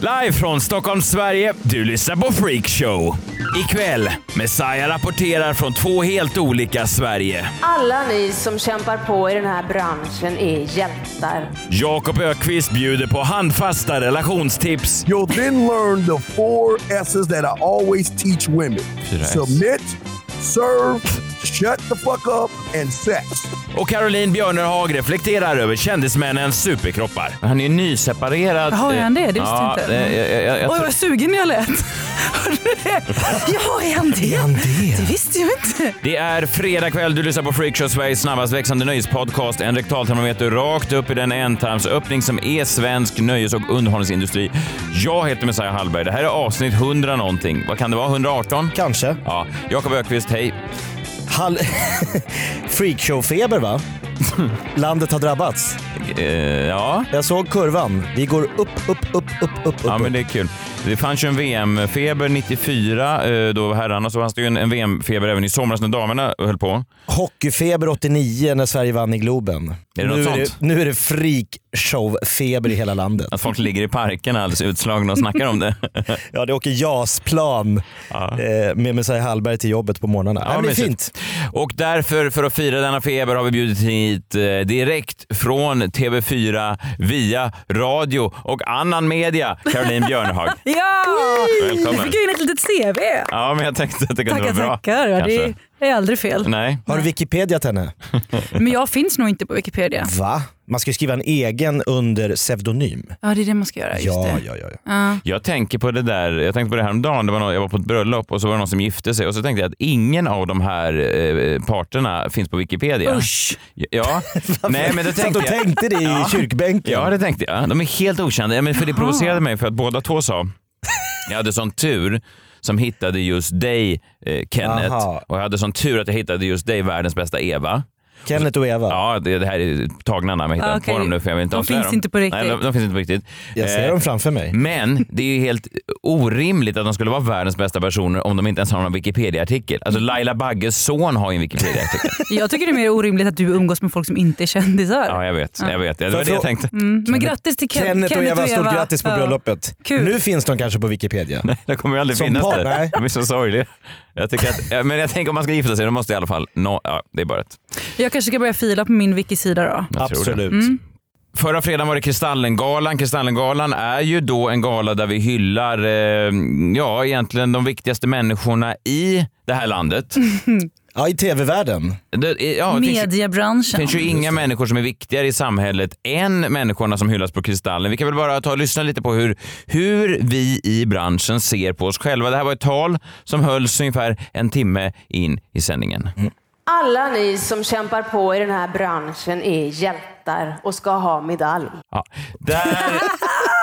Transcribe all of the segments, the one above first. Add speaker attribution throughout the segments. Speaker 1: Live från Stockholm, Sverige. Du lyssnar på Freak Show. Ikväll, Messiah rapporterar från två helt olika Sverige.
Speaker 2: Alla ni som kämpar på i den här branschen är hjältar.
Speaker 1: Jakob Ökvist bjuder på handfasta relationstips.
Speaker 3: You'll then learn the four S's that I always teach women submit, serve, shut the fuck up, and sex.
Speaker 1: Och Caroline Björnerhag reflekterar över kändismännens superkroppar.
Speaker 4: Han är nyseparerad.
Speaker 5: Har han det? Det visste
Speaker 4: ja,
Speaker 5: jag inte.
Speaker 4: eh, Jag, jag, jag,
Speaker 5: Oj,
Speaker 4: tror-
Speaker 5: vad sugen jag lät. Hörde du det? Ja, är han det? Det visste jag inte.
Speaker 1: Det är fredag kväll, du lyssnar på Freakshow, Sveriges snabbast växande nöjespodcast. En rektaltermometer rakt upp i den ändtarmsöppning som är svensk nöjes och underhållningsindustri. Jag heter Messiah Hallberg. Det här är avsnitt 100 någonting. Vad kan det vara? 118?
Speaker 6: Kanske.
Speaker 1: Ja, Jakob Ökvist, hej.
Speaker 6: Hall... Freakshow-feber va? Landet har drabbats.
Speaker 1: Eh, ja.
Speaker 6: Jag såg kurvan. Vi går upp, upp, upp, upp, upp,
Speaker 1: ja,
Speaker 6: upp.
Speaker 1: men det är kul. Det fanns ju en VM-feber 94 eh, då herrarna, så fanns det ju en, en VM-feber även i somras när damerna höll på.
Speaker 6: Hockeyfeber 89 när Sverige vann i Globen.
Speaker 1: Är det något
Speaker 6: nu, är
Speaker 1: sånt?
Speaker 6: det, nu är det freakshow-feber i hela landet.
Speaker 1: Att folk ligger i parken alldeles utslagna och snackar om det.
Speaker 6: Ja, det åker JAS-plan eh, med Messiah Hallberg till jobbet på morgnarna. Ja, men det är
Speaker 1: mysigt.
Speaker 6: fint.
Speaker 1: Och därför, för att fira denna feber, har vi bjudit hit eh, direkt från TV4 via radio och annan media, Caroline Björnhag.
Speaker 5: Ja!
Speaker 1: Välkommen.
Speaker 5: Jag fick ju in ett litet CV.
Speaker 1: Ja, men jag tänkte att det kunde
Speaker 5: Tackar,
Speaker 1: vara bra.
Speaker 5: tackar. Ja,
Speaker 1: kanske.
Speaker 5: det är aldrig fel.
Speaker 1: Nej.
Speaker 6: Har du Wikipediat henne?
Speaker 5: Men jag finns nog inte på Wikipedia.
Speaker 6: Va? Man ska ju skriva en egen under pseudonym.
Speaker 5: Ja, det är det man ska göra. Just
Speaker 6: Ja,
Speaker 5: det.
Speaker 6: ja, ja. ja.
Speaker 1: Jag tänker på det där, jag tänkte på det häromdagen, det var någon, jag var på ett bröllop och så var det någon som gifte sig och så tänkte jag att ingen av de här eh, parterna finns på Wikipedia.
Speaker 5: Usch!
Speaker 1: Ja, nej men det
Speaker 6: Satt
Speaker 1: tänkte
Speaker 6: och
Speaker 1: jag.
Speaker 6: tänkte det i
Speaker 1: Ja.
Speaker 6: kyrkbänken.
Speaker 1: Ja, det tänkte jag. De är helt okända. Ja, men för det provocerade mig för att båda två sa, jag hade sån tur som hittade just dig eh, Kenneth
Speaker 6: Aha.
Speaker 1: och jag hade sån tur att jag hittade just dig världens bästa Eva.
Speaker 6: Kenneth och Eva. Ah,
Speaker 1: Ja, det, det här är tagna namn. Jag hittar
Speaker 5: Ja,
Speaker 1: inte på
Speaker 5: okej.
Speaker 1: dem nu för jag vill inte
Speaker 5: De
Speaker 1: avslöja
Speaker 5: finns
Speaker 1: dem.
Speaker 5: inte på riktigt.
Speaker 1: Nej, de, de finns inte på riktigt.
Speaker 6: Jag ser
Speaker 1: Eh,
Speaker 6: dem framför mig.
Speaker 1: men det är ju helt orimligt att de skulle vara världens bästa personer om de inte ens har någon Wikipedia-artikel. Alltså Laila Bagges son har ju en Wikipedia-artikel.
Speaker 5: Jag tycker det är mer orimligt att du umgås med folk som inte är kändisar.
Speaker 1: Ja, jag vet. Jag vet. Det var
Speaker 6: jag
Speaker 1: det jag
Speaker 6: frå-
Speaker 1: tänkte.
Speaker 5: Mm. Men grattis till Ken-
Speaker 6: Kenneth och Eva, stort grattis på
Speaker 5: Ja.
Speaker 6: bröllopet.
Speaker 5: Kul.
Speaker 6: Nu finns de kanske på Wikipedia.
Speaker 1: Det kommer ju aldrig
Speaker 6: Som
Speaker 1: finnas
Speaker 6: par,
Speaker 1: där.
Speaker 6: nej.
Speaker 1: De är så sorgliga. Jag tycker att, ja, men jag tänker om man ska gifta sig, då måste i alla fall... nå- ja, det är bara ett.
Speaker 5: Jag kanske ska börja fila på min wiki-sida då. Mm.
Speaker 1: Jag tror det.
Speaker 6: Absolut.
Speaker 1: Förra fredagen var det Kristallengalan. Kristallengalan är ju då en gala där vi hyllar eh, ja, egentligen de viktigaste människorna i det här landet.
Speaker 6: Ja, i tv-världen.
Speaker 1: Det, ja, det finns- Det
Speaker 5: Mediebranschen.
Speaker 1: finns ju inga människor som är viktigare i samhället än människorna som hyllas på Kristallen. Vi kan väl bara ta och lyssna lite på hur, hur vi i branschen ser på oss själva. Det här var ett tal som hölls ungefär en timme in i sändningen.
Speaker 2: Alla ni som kämpar på i den här branschen är hjältar och ska ha medalj.
Speaker 1: Ja, där,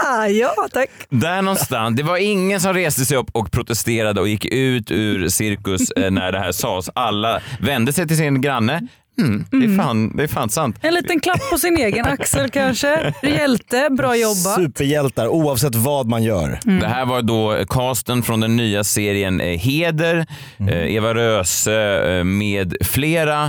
Speaker 5: Ah, ja, tack.
Speaker 1: där någonstans. Det var ingen som reste sig upp och protesterade och gick ut ur cirkus eh, när det här sades. Alla vände sig till sin granne. Mm, det, är fan, det är fan sant.
Speaker 5: En liten klapp på sin egen axel kanske. Du är Hjälte, bra jobbat. Mm.
Speaker 6: Superhjältar, oavsett vad man gör.
Speaker 1: Det här var då casten från den nya serien eh, Heder, eh, Eva Röse eh, med flera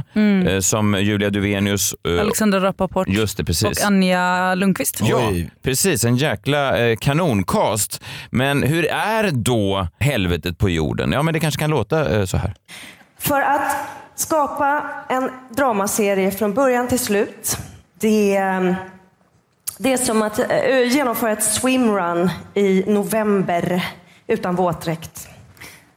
Speaker 1: eh, som Julia Duvenius. eh,
Speaker 5: Alexandra Rappaport
Speaker 1: Just det, precis.
Speaker 5: och Anja Lundqvist.
Speaker 1: Ja,
Speaker 6: Oj.
Speaker 1: precis. En jäkla eh, kanoncast. Men hur är då helvetet på jorden? Ja, men det kanske kan låta eh, så här.
Speaker 7: För att skapa en dramaserie från början till slut, det, är- det är som att eh, genomföra ett swimrun i november utan våtdräkt.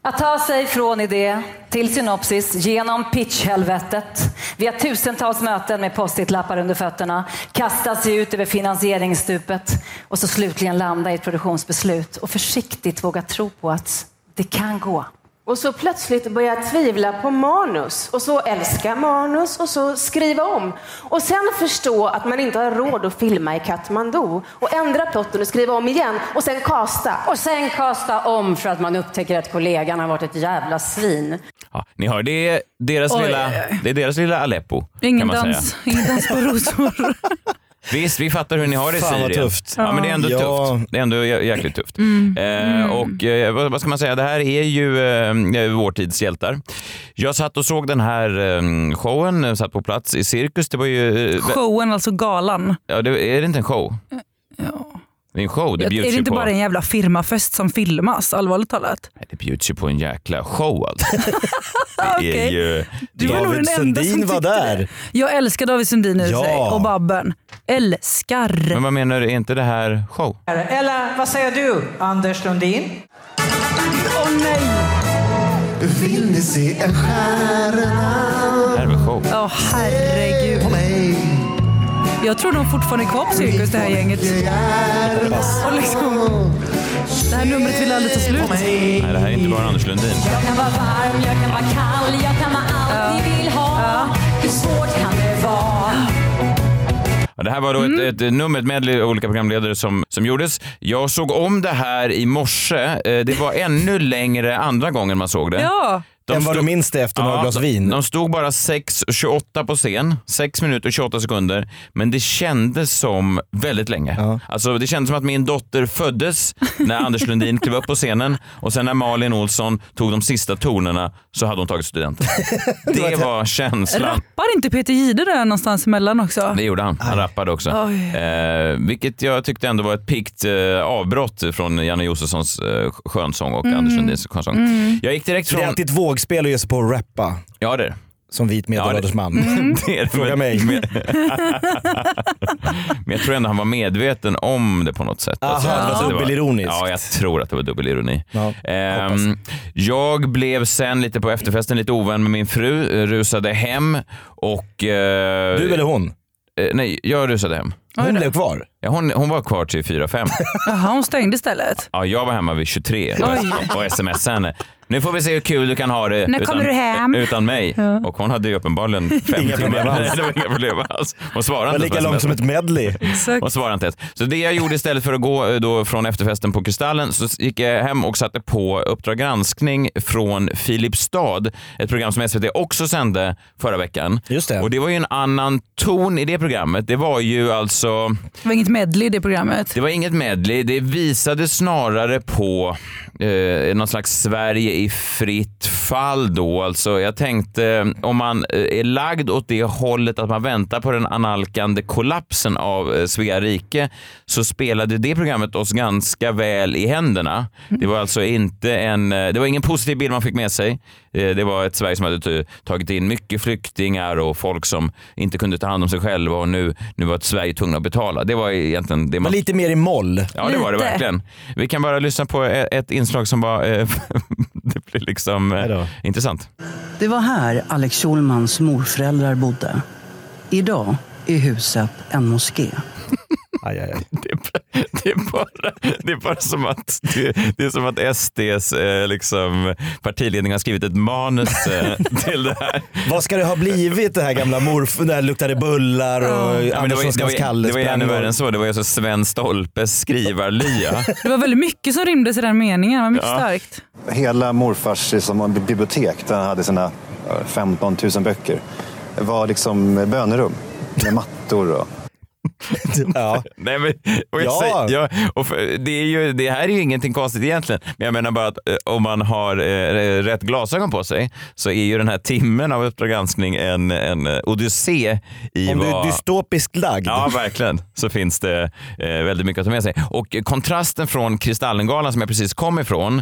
Speaker 2: Att ta sig från idé till synopsis genom pitchhelvetet. Via tusentals möten med post-it-lappar under fötterna. Kasta sig ut över finansieringsstupet. Och så slutligen landa i ett produktionsbeslut och försiktigt våga tro på att det kan gå.
Speaker 7: Och så plötsligt börjar jag tvivla på manus och så älska manus och så skriva om. Och sen förstå att man inte har råd att filma i Katmandu och ändra plotten och skriva om igen och sen kasta.
Speaker 4: Och sen kasta om för att man upptäcker att kollegan har varit ett jävla svin.
Speaker 1: Ja, ni hör, det är deras,
Speaker 4: Oj,
Speaker 1: lilla,
Speaker 4: oj,
Speaker 1: Det är deras lilla Aleppo.
Speaker 5: Ingen
Speaker 1: kan man
Speaker 5: dans,
Speaker 1: Säga.
Speaker 5: ingen dans på rosor.
Speaker 1: Visst, vi fattar hur ni har det i
Speaker 6: Fan, vad
Speaker 1: Syrien.
Speaker 6: tufft.
Speaker 1: Ja, men det är ändå
Speaker 6: Ja.
Speaker 1: tufft. Det är ändå jä- jäkligt tufft.
Speaker 5: Mm.
Speaker 1: Eh, och eh, vad, vad ska man säga, det här är ju eh, vår tids hjältar. Jag satt och såg den här eh, showen, eh, satt på plats i cirkus. Det var ju... eh,
Speaker 5: Showen, alltså galan.
Speaker 1: Ja, det, är det inte en show? Ja. Det är en show. Det
Speaker 5: Eh, är
Speaker 1: bjuds,
Speaker 5: det
Speaker 1: ju
Speaker 5: inte
Speaker 1: på,
Speaker 5: bara en jävla firmafest som filmas, allvarligt talat?
Speaker 1: det bjuds ju på en jäkla show alltså. Det är ju...
Speaker 5: Du var nog den enda som tyckte
Speaker 1: där.
Speaker 5: Jag älskar David Sundin i
Speaker 1: Ja.
Speaker 5: sig och Babben. Älskar.
Speaker 1: Men vad menar du, är inte det här show?
Speaker 8: Eller vad säger du, Anders Lundin?
Speaker 5: Åh nej!
Speaker 9: Vill ni se en stjärna?
Speaker 1: Det här är väl show?
Speaker 5: Åh herregud. Jag tror de fortfarande är kvar på cirkus det här gänget. Och liksom, det här numret vill aldrig ta slut.
Speaker 1: Nej, det här är inte bara Anders Lundin.
Speaker 4: Jag kan vara varm, jag kan vara kall, jag kan vara allt ni vill ha. Hur svårt kan det vara?
Speaker 1: Ja, Det här var då ett, ett nummer, ett medley av olika programledare som, som gjordes. Jag såg om det här i morse. Eh, Det var ännu längre andra gången man såg det.
Speaker 5: Ja.
Speaker 6: Än vad du minns det efter några glas
Speaker 1: vin. De stod bara 6.28 på scen, 6 minuter och 28 sekunder, men det kändes som väldigt länge. Alltså, det kändes som att min dotter föddes när Anders Lundin klev upp på scenen och sen när Malin Olsson tog de sista tonerna så hade hon tagit studenten. Det var känslan.
Speaker 5: Rappar inte Peter Jihde där någonstans emellan också?
Speaker 1: Det gjorde han. Han rappade också.
Speaker 5: Oj.
Speaker 1: Eh, vilket jag tyckte ändå var ett pikt eh, avbrott från Janne Josefssons eh, skönsång och
Speaker 6: Mm.
Speaker 1: Anders Lundins skönsång.
Speaker 6: Mm.
Speaker 1: Jag gick direkt från...
Speaker 6: Det är alltid ett vågspel att ge sig på att rappa.
Speaker 1: Ja, det är det.
Speaker 6: Som vit medelålders man.
Speaker 1: Mm. Det är det.
Speaker 6: Fråga mig.
Speaker 1: Men jag tror ändå han var medveten om det på något sätt.
Speaker 6: Aha, det var dubbelironiskt.
Speaker 1: Ja, jag tror att det var dubbelironi.
Speaker 6: Ja,
Speaker 1: Ehm, jag blev sen lite på efterfesten lite ovän med min fru, eh, rusade hem och... du
Speaker 6: eller hon?
Speaker 1: nej, jag rusade hem.
Speaker 5: Hon
Speaker 1: blev
Speaker 6: kvar?
Speaker 1: Ja, hon, hon var kvar till fyra fem.
Speaker 5: Jaha, hon stängde istället.
Speaker 1: Ja, jag var hemma vid 23 och, och smsade henne. Nu får vi se hur kul du kan ha det
Speaker 5: När kommer du hem?
Speaker 1: utan mig.
Speaker 5: Ja.
Speaker 1: Och hon hade ju uppenbarligen fem
Speaker 6: Inga
Speaker 1: timmar.
Speaker 6: problem alls.
Speaker 1: Det var inga problem alls. Hon svarade
Speaker 6: Var
Speaker 1: inte
Speaker 6: lika
Speaker 1: på
Speaker 6: lång
Speaker 1: SMS.
Speaker 6: som ett medley.
Speaker 1: Hon svarade inte ens. Så det jag gjorde istället för att gå eh, då från efterfesten på Kristallen så gick jag hem och satte på Uppdrag granskning från Filipstad. Ett program som SVT också sände förra veckan. Just det. Och det var ju en annan ton i det programmet. Det var ju alltså
Speaker 5: Det var inget medley i det programmet.
Speaker 1: det var inget medley. Det visade snarare på eh, någon slags Sverige i fritt fall då. Alltså, jag tänkte om man eh, är lagd åt det hållet att man väntar på den analkande kollapsen av eh, Svea rike så spelade det programmet oss ganska väl i händerna. Det var alltså inte en, eh, det var ingen positiv bild man fick med sig. Eh, det var ett Sverige som hade t- tagit in mycket flyktingar och folk som inte kunde ta hand om sig själva och nu, nu var Sverige tvungna att betala. Det var egentligen det
Speaker 6: Det var
Speaker 1: man
Speaker 6: lite mer i moll.
Speaker 1: Ja, det var det verkligen. Vi kan bara lyssna på e- ett inslag som var... eh, det blir liksom eh, intressant.
Speaker 10: Det var här Alex Schulmans morföräldrar bodde. Idag är huset en moské.
Speaker 6: Aj, aj, aj.
Speaker 1: Det, är bara- det, är bara, det är bara som att, det, det är som att SDs eh, liksom, partiledning har skrivit ett manus eh, till det här.
Speaker 6: Vad ska det ha blivit det här gamla morf... Där luktade bullar och
Speaker 1: Ja, men det, var, ju-
Speaker 6: Anderssons
Speaker 1: det, var,
Speaker 6: Kalle
Speaker 1: ju- det var ju
Speaker 6: sprang
Speaker 1: ännu
Speaker 6: och-
Speaker 1: värre än så. Det var ju alltså Sven Stolpes skrivarlya.
Speaker 5: Det var väldigt mycket som rymdes i den meningen. Det var mycket
Speaker 9: Ja.
Speaker 5: starkt.
Speaker 9: Hela morfars liksom, bibliotek, där han hade sina eh, 15 000 böcker, var liksom bönerum med mattor och...
Speaker 6: Ja.
Speaker 1: Nej, men, och jag
Speaker 9: Ja.
Speaker 1: säger, ja, och för, det, är ju, det här är ju ingenting konstigt egentligen, men jag menar bara att eh, om man har eh, rätt glasögon på sig så är ju den här timmen av Uppdrag granskning en, en eh, odyssé i
Speaker 6: Om du
Speaker 1: vad...
Speaker 6: är dystopiskt lagd.
Speaker 1: Ja, verkligen. Så finns det eh, väldigt mycket att ta med sig. Och eh, kontrasten från Kristallengalan som jag precis kom ifrån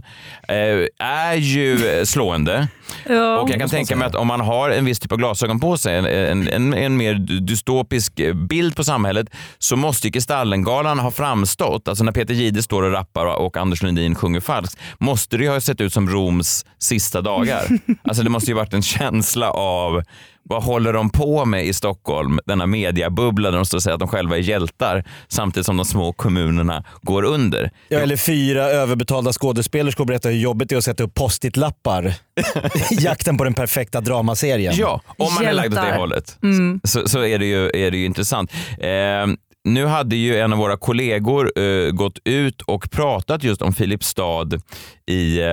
Speaker 1: eh, är ju eh, slående.
Speaker 5: Ja.
Speaker 1: Och jag kan tänka mig att om man har en viss typ av glasögon på sig, en, en, en, en mer dystopisk eh, bild på samhället, så måste ju Kristallengalan ha framstått, alltså när Peter Jihde står och rappar och Anders Lundin sjunger falskt, måste det ju ha sett ut som Roms sista dagar. Alltså det måste ju varit en känsla av vad håller de på med i Stockholm, denna mediabubbla där de står och säger att de själva är hjältar samtidigt som de små kommunerna går under.
Speaker 6: Ja, eller fyra överbetalda skådespelerskor berättar hur jobbigt det är att sätta upp post-it-lappar i jakten på den perfekta dramaserien.
Speaker 1: Ja, om man är lagd åt det hållet
Speaker 6: Mm.
Speaker 1: så, så är, det ju, är det ju intressant. Eh, nu hade ju en av våra kollegor eh, gått ut och pratat just om Filipstad i, eh,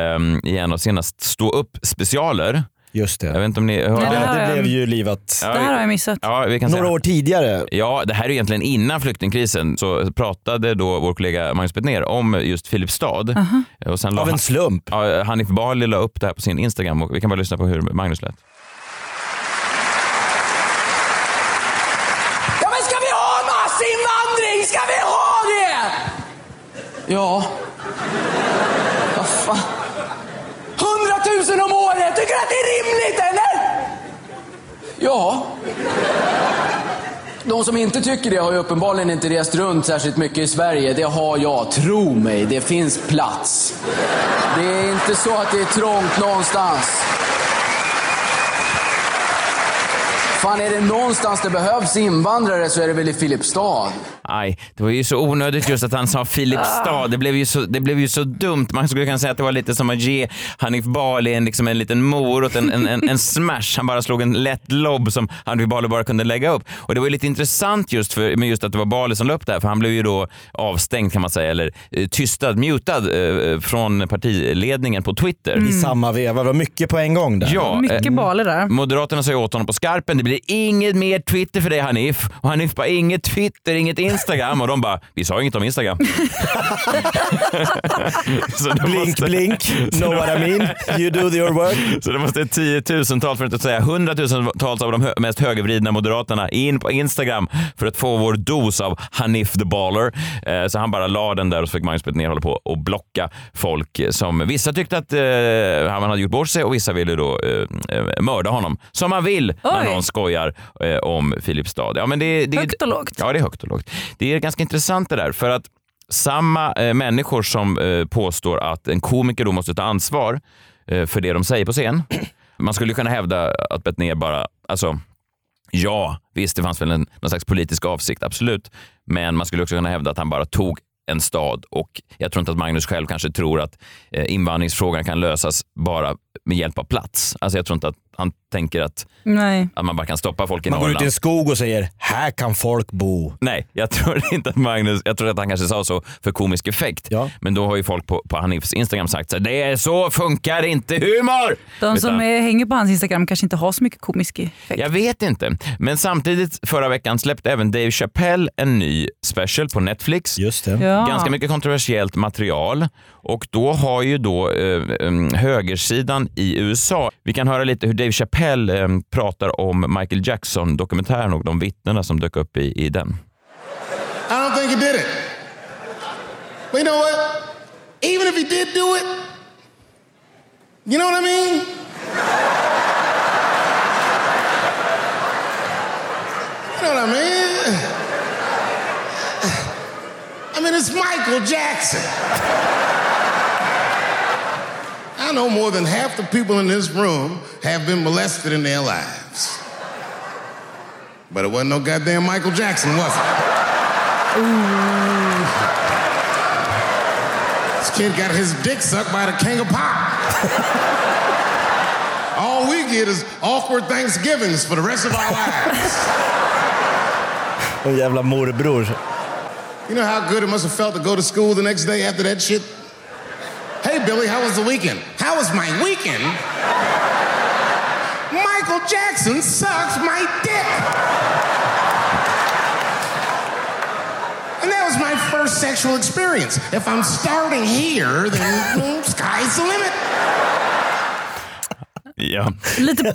Speaker 1: i en av senast stå upp specialer.
Speaker 6: Just det.
Speaker 1: Jag vet inte om ni hörde?
Speaker 6: det här Ja, det har jag- blev ju livat.
Speaker 5: Det här har jag missat.
Speaker 1: Ja, vi kan
Speaker 6: Några
Speaker 1: säga.
Speaker 6: år tidigare.
Speaker 1: Ja, det här är egentligen innan flyktingkrisen så pratade då vår kollega Magnus Betnér om just Filipstad.
Speaker 5: Aha.
Speaker 1: Och sen la
Speaker 6: Av en
Speaker 1: han-
Speaker 6: slump.
Speaker 1: Ja, Hanif Bali la upp det här på sin Instagram och vi kan bara lyssna på hur Magnus lät.
Speaker 11: Ja men ska vi ha massinvandring? Ska vi ha det? Ja. Vad fan. Hundratusen om året, tycker du att det är rimligt eller? Ja. De som inte tycker det har ju uppenbarligen inte rest runt särskilt mycket i Sverige. Det har jag, tro mig. Det finns plats. Det är inte så att det är trångt någonstans. Fan, är det någonstans det behövs invandrare så är det väl i Filipstad.
Speaker 1: Aj, det var ju så onödigt just att han sa Filipstad. Det blev ju så, det blev ju så dumt. Man skulle kunna säga att det var lite som att ge Hanif Bali en, liksom en liten morot, en, en, en, en smash. Han bara slog en lätt lobb som Hanif Bali bara kunde lägga upp. Och det var ju lite intressant just för med just att det var Bali som la upp det här, för han blev ju då avstängd kan man säga, eller eh, tystad, mutad eh, från partiledningen på Twitter.
Speaker 6: I samma veva. Det var mycket på en gång där.
Speaker 1: Ja, eh, Moderaterna sa ju åt honom på skarpen, det blir inget mer Twitter för dig Hanif. Och Hanif bara, inget Twitter, inget Instagram. Och de bara, vi sa inget om Instagram. blink,
Speaker 6: blink, know what I mean. You do your work.
Speaker 1: Så det måste tiotusentals, för att inte säga hundratusentals av de hö- mest högervridna moderaterna in på Instagram för att få vår dos av Hanif the baller. Eh, Så han bara la den där och så fick Magnus ner hålla på och blocka folk som vissa tyckte att eh, han hade gjort bort sig och vissa ville då eh, eh, mörda honom. Som man vill när
Speaker 5: Oj.
Speaker 1: någon skojar eh, om Filipstad. Ja, men det, det, högt och lågt. Ja, det är högt och lågt. Det är ganska intressant det där för att samma eh, människor som eh, påstår att en komiker då måste ta ansvar eh, för det de säger på scen. Man skulle kunna hävda att Betnér bara, alltså ja, visst det fanns väl en, någon slags politisk avsikt, absolut. Men man skulle också kunna hävda att han bara tog en stad och jag tror inte att Magnus själv kanske tror att eh, invandringsfrågan kan lösas bara med hjälp av plats. Alltså jag tror inte att han tänker att,
Speaker 5: Nej.
Speaker 1: att man bara kan stoppa folk i
Speaker 6: Man går ut
Speaker 1: Norrland.
Speaker 6: i en skog och säger “Här kan folk bo”.
Speaker 1: Nej, jag tror inte att Magnus, jag tror att han kanske sa så för komisk effekt. Men då har ju folk på, på Hanifs Instagram sagt så här, det är så funkar inte humor!
Speaker 5: De som
Speaker 1: Utan-
Speaker 5: är, hänger på hans Instagram kanske inte har så mycket komisk effekt.
Speaker 1: Jag vet inte. Men samtidigt förra veckan släppte även Dave Chappelle en ny special på Netflix.
Speaker 6: Just
Speaker 5: Ja.
Speaker 1: Ganska mycket kontroversiellt material och då har ju då eh, em, högersidan i USA, vi kan höra lite hur Dave Chappelle em, pratar om Michael Jackson-dokumentären och de vittnena som dök upp i, i den.
Speaker 12: I don't think he did it. But you know what? Even if he did do it, you know what I mean? you know what I mean? I mean, it's Michael Jackson. I know more than half the people in this room have been molested in their lives. But it wasn't no goddamn Michael Jackson, was it? This kid got his dick sucked by the king of pop. All we get is awkward Thanksgivings for the rest of our lives.
Speaker 6: En jävla morbror.
Speaker 12: You know how good it must have felt to go to school the next day after that shit? Hey, Billy, how was the weekend? How was my weekend? Michael Jackson sucks my dick. And that was my first sexual experience. If I'm starting here, then mm, sky's the limit.
Speaker 1: Ja.
Speaker 5: Lite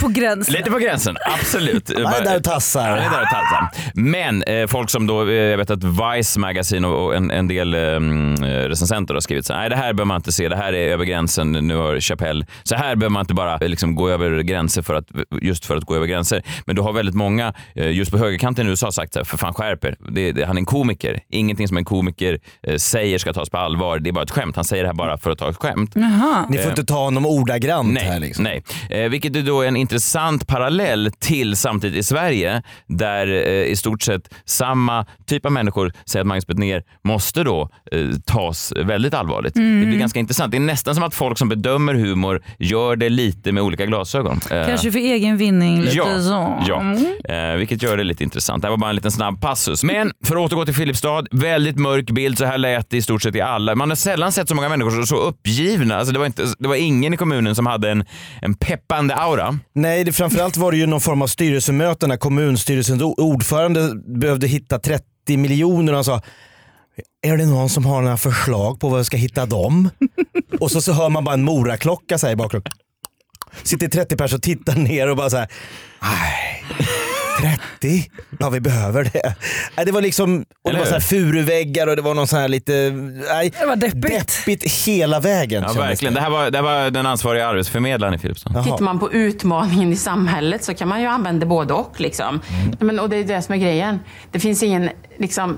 Speaker 5: på gränsen.
Speaker 1: Lite på gränsen, absolut.
Speaker 6: Han är där och tassar.
Speaker 1: Ja, det är där och tassar. Men eh, folk som då, eh, jag vet att Vice Magazine och, och en, en del eh, mm, recensenter har skrivit så här, nej det här behöver man inte se, det här är över gränsen, nu har Chappelle, så här behöver man inte bara eh, liksom, gå över gränser för att, just för att gå över gränser. Men då har väldigt många, eh, just på högerkanten i USA, sagt så här, för fan skärper det, det, han är en komiker, ingenting som en komiker eh, säger ska tas på allvar, det är bara ett skämt, han säger det här bara för att ta ett skämt.
Speaker 5: Jaha.
Speaker 6: Ni får inte ta honom ordagrant här liksom.
Speaker 1: Nej, eh, vilket är då en intressant parallell till samtidigt i Sverige där eh, i stort sett samma typ av människor säger att Magnus Betnér måste då eh, tas väldigt allvarligt.
Speaker 5: Mm.
Speaker 1: Det blir ganska intressant. Det är nästan som att folk som bedömer humor gör det lite med olika glasögon. Eh,
Speaker 5: Kanske för egen vinning lite
Speaker 1: ja,
Speaker 5: så.
Speaker 1: Ja,
Speaker 5: Mm.
Speaker 1: eh, vilket gör det lite intressant. Det här var bara en liten snabb passus. Men för att återgå till Filipstad, väldigt mörk bild. Så här lät det i stort sett i alla. Man har sällan sett så många människor som så uppgivna. Alltså det, var inte, det var ingen i kommunen som hade en, en peppande aura.
Speaker 6: Nej, det, framförallt var det ju någon form av styrelsemöte när kommunstyrelsens o- ordförande behövde hitta 30 miljoner och han sa är det någon som har några förslag på var jag ska hitta dem? och så, så hör man bara en moraklocka så här i bakgrunden. Sitter 30 personer och tittar ner och bara så här. Nej, 30? Ja, vi behöver det. Nej, det var liksom och det var så här furuväggar och det var någon sån här lite... Nej, det var deppigt. hela vägen.
Speaker 1: Ja,
Speaker 6: kändes
Speaker 1: verkligen. Det här, var, det här var den ansvariga arbetsförmedlaren i Filipstad.
Speaker 13: Tittar man på utmaningen i samhället så kan man ju använda både och. Liksom. Men, och det är det som är grejen. Det finns ingen, liksom,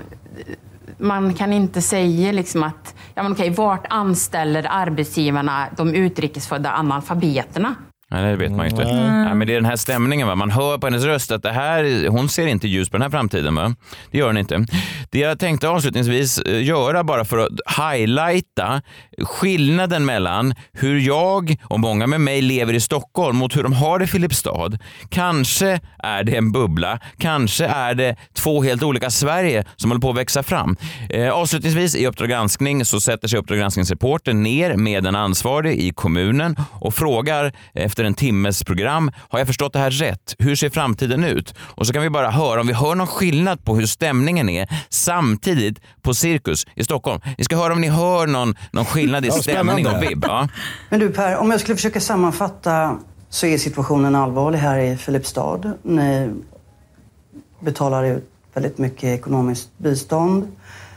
Speaker 13: man kan inte säga liksom att, ja men okej, vart anställer arbetsgivarna de utrikesfödda analfabeterna?
Speaker 1: Nej, det vet man ju inte.
Speaker 13: Nej.
Speaker 1: Nej, men det är den här stämningen. Va? Man hör på hennes röst att det här, hon ser inte ljus på den här framtiden. Va? Det gör hon inte. Det jag tänkte avslutningsvis eh, göra bara för att highlighta skillnaden mellan hur jag och många med mig lever i Stockholm mot hur de har det i Filipstad. Kanske är det en bubbla. Kanske är det två helt olika Sverige som håller på att växa fram. Eh, avslutningsvis i Uppdrag granskning så sätter sig Uppdrag granskningsreportern ner med en ansvarig i kommunen och frågar efter en timmes program, har jag förstått det här rätt? Hur ser framtiden ut? Och så kan vi bara höra om vi hör någon skillnad på hur stämningen är samtidigt på Cirkus i Stockholm. Vi ska höra om ni hör någon, någon skillnad i
Speaker 14: Ja,
Speaker 1: stämning och
Speaker 14: spännande.
Speaker 1: vibb. Ja.
Speaker 14: Men du Per, om jag skulle försöka sammanfatta så är situationen allvarlig här i Filipstad. Ni betalar ut väldigt mycket ekonomiskt bistånd.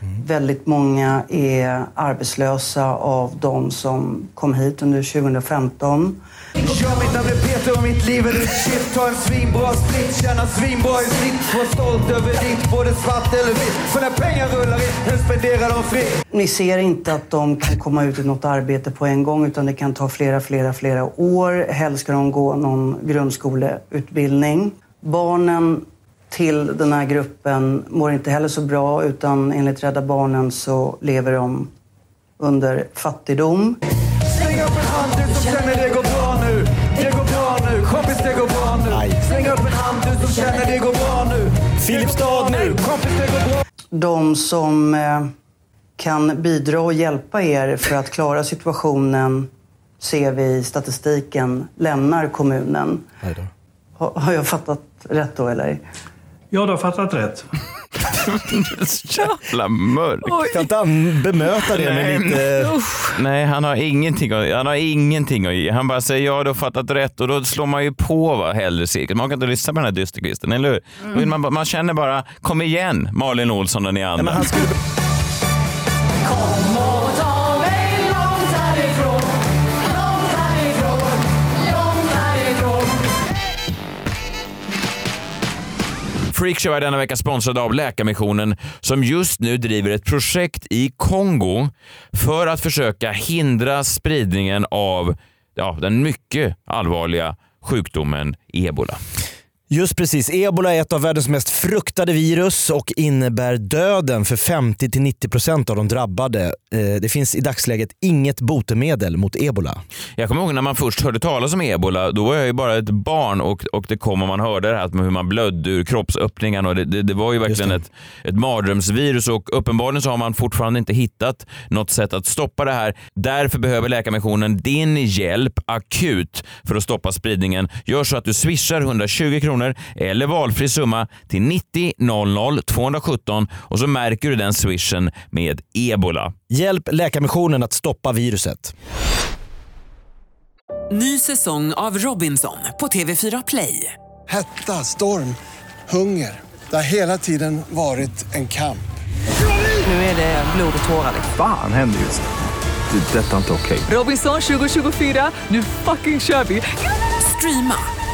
Speaker 6: Mm.
Speaker 14: Väldigt många är arbetslösa av de som kom hit under 2015.
Speaker 15: Kör mitt namn är Peter och mitt liv är ett shit Ta en svinbra split, tjäna svinbra i snitt Var stolt över ditt, både svart eller vitt För när pengar rullar in, nu spenderar de fritt
Speaker 14: Ni ser inte att de kan komma ut i något arbete på en gång utan det kan ta flera, flera, flera år. Helst ska de gå någon grundskoleutbildning. Barnen till den här gruppen mår inte heller så bra utan enligt Rädda Barnen så lever de under fattigdom.
Speaker 15: Släng upp en hand du som känner det går bra nu Det går bra nu, kompis det går bra nu Släng upp en hand du som känner det går bra nu Filipstad nu, kompis det går bra
Speaker 14: De som eh, kan bidra och hjälpa er för att klara situationen ser vi i statistiken lämnar kommunen. Har har jag fattat rätt då eller?
Speaker 16: Ja, du har fattat rätt.
Speaker 1: Jävla mörkt.
Speaker 6: Kan inte han bemöta det med lite...
Speaker 1: Nej, han har ingenting att, han har ingenting att ge. Han bara säger ja, du har fattat rätt och då slår man ju på va, hellre cirkeln. Man kan inte lyssna på den här dysterkvisten, eller hur? Då vill Man, bara- man känner bara, kom igen Malin Olsson och ni andra. Freakshow är denna vecka sponsrad av Läkarmissionen som just nu driver ett projekt i Kongo för att försöka hindra spridningen av ja, den mycket allvarliga sjukdomen ebola.
Speaker 6: Just precis. Ebola är ett av världens mest fruktade virus och innebär döden för 50-90% av de drabbade. Eh, Det finns i dagsläget inget botemedel mot ebola.
Speaker 1: Jag kommer ihåg när man först hörde talas om ebola, då var jag ju bara ett barn och, och det kom och man hörde det här med hur man blödde ur kroppsöppningarna och det, det, det var ju verkligen ett, ett mardrömsvirus och uppenbarligen så har man fortfarande inte hittat något sätt att stoppa det här. Därför behöver Läkarmissionen din hjälp akut för att stoppa spridningen. Gör så att du swishar 120 kronor eller valfri summa till 90 00 217 och så märker du den swishen med ebola.
Speaker 6: Hjälp Läkarmissionen att stoppa viruset.
Speaker 17: Ny säsong av Robinson på TV4 Play.
Speaker 18: Hetta, storm, hunger. Det har hela tiden varit en kamp.
Speaker 17: Nu är det blod och tårar. liksom.
Speaker 19: Fan händer just det. Det är detta inte okej.
Speaker 17: Robinson 2024, nu fucking kör vi! Streama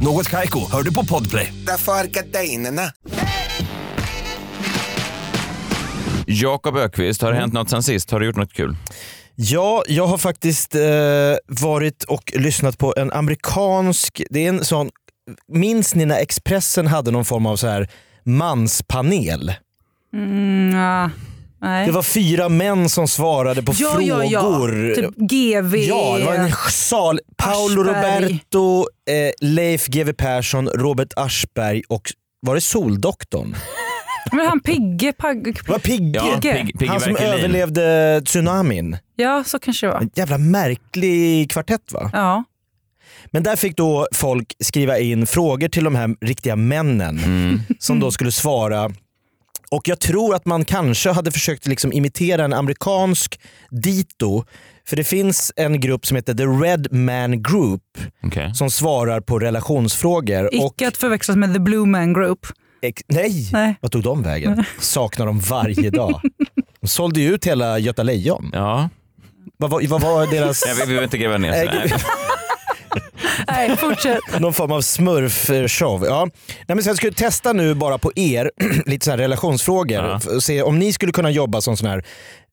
Speaker 20: Något Kaiko, hör du på Podplay.
Speaker 21: Därför är gardinerna.
Speaker 1: Jakob Ökvist, har
Speaker 6: Mm.
Speaker 1: det hänt något sen sist? Har du gjort något kul?
Speaker 6: Ja, jag har faktiskt eh, varit och lyssnat på en amerikansk, det är en sån, minns ni när Expressen hade någon form av så här manspanel?
Speaker 5: Mm, ja. Nej.
Speaker 6: Det var fyra män som svarade på
Speaker 5: ja, ja,
Speaker 6: frågor.
Speaker 5: ja. Typ GV.
Speaker 6: Ja, det var en sal. Paolo
Speaker 5: Aschberg.
Speaker 6: Roberto, eh, Leif GW Persson, Robert Aschberg och var det Soldoktorn?
Speaker 5: Men han Pigge... Pag,
Speaker 6: Det var Pigge.
Speaker 5: Ja, Pigge. Pigge
Speaker 6: han som
Speaker 5: Verkelin.
Speaker 6: överlevde tsunamin.
Speaker 5: ja, så kanske det var.
Speaker 6: En jävla märklig kvartett va?
Speaker 5: Ja.
Speaker 6: Men där fick då folk skriva in frågor till de här riktiga männen
Speaker 1: Mm.
Speaker 6: som då skulle svara. Och jag tror att man kanske hade försökt liksom imitera en amerikansk dito. För det finns en grupp som heter The Red Man Group som svarar på relationsfrågor. Och,
Speaker 5: Icke att förväxlas med The Blue Man Group.
Speaker 6: ex, nej!
Speaker 5: Nej.
Speaker 6: Vad tog de vägen? Saknar dem varje dag. De sålde ju ut hela Göta Lejon.
Speaker 1: Ja.
Speaker 6: Vad, var- vad var deras...
Speaker 1: Jag vill, vi vill inte gräva ner sig. Nej.
Speaker 5: Nej, fortsätt.
Speaker 6: Någon form av smurf-show. Ja. Nej, men så jag skulle testa nu bara på er, lite så här relationsfrågor.
Speaker 1: Ja.
Speaker 6: F- och Se om ni skulle kunna jobba som sån här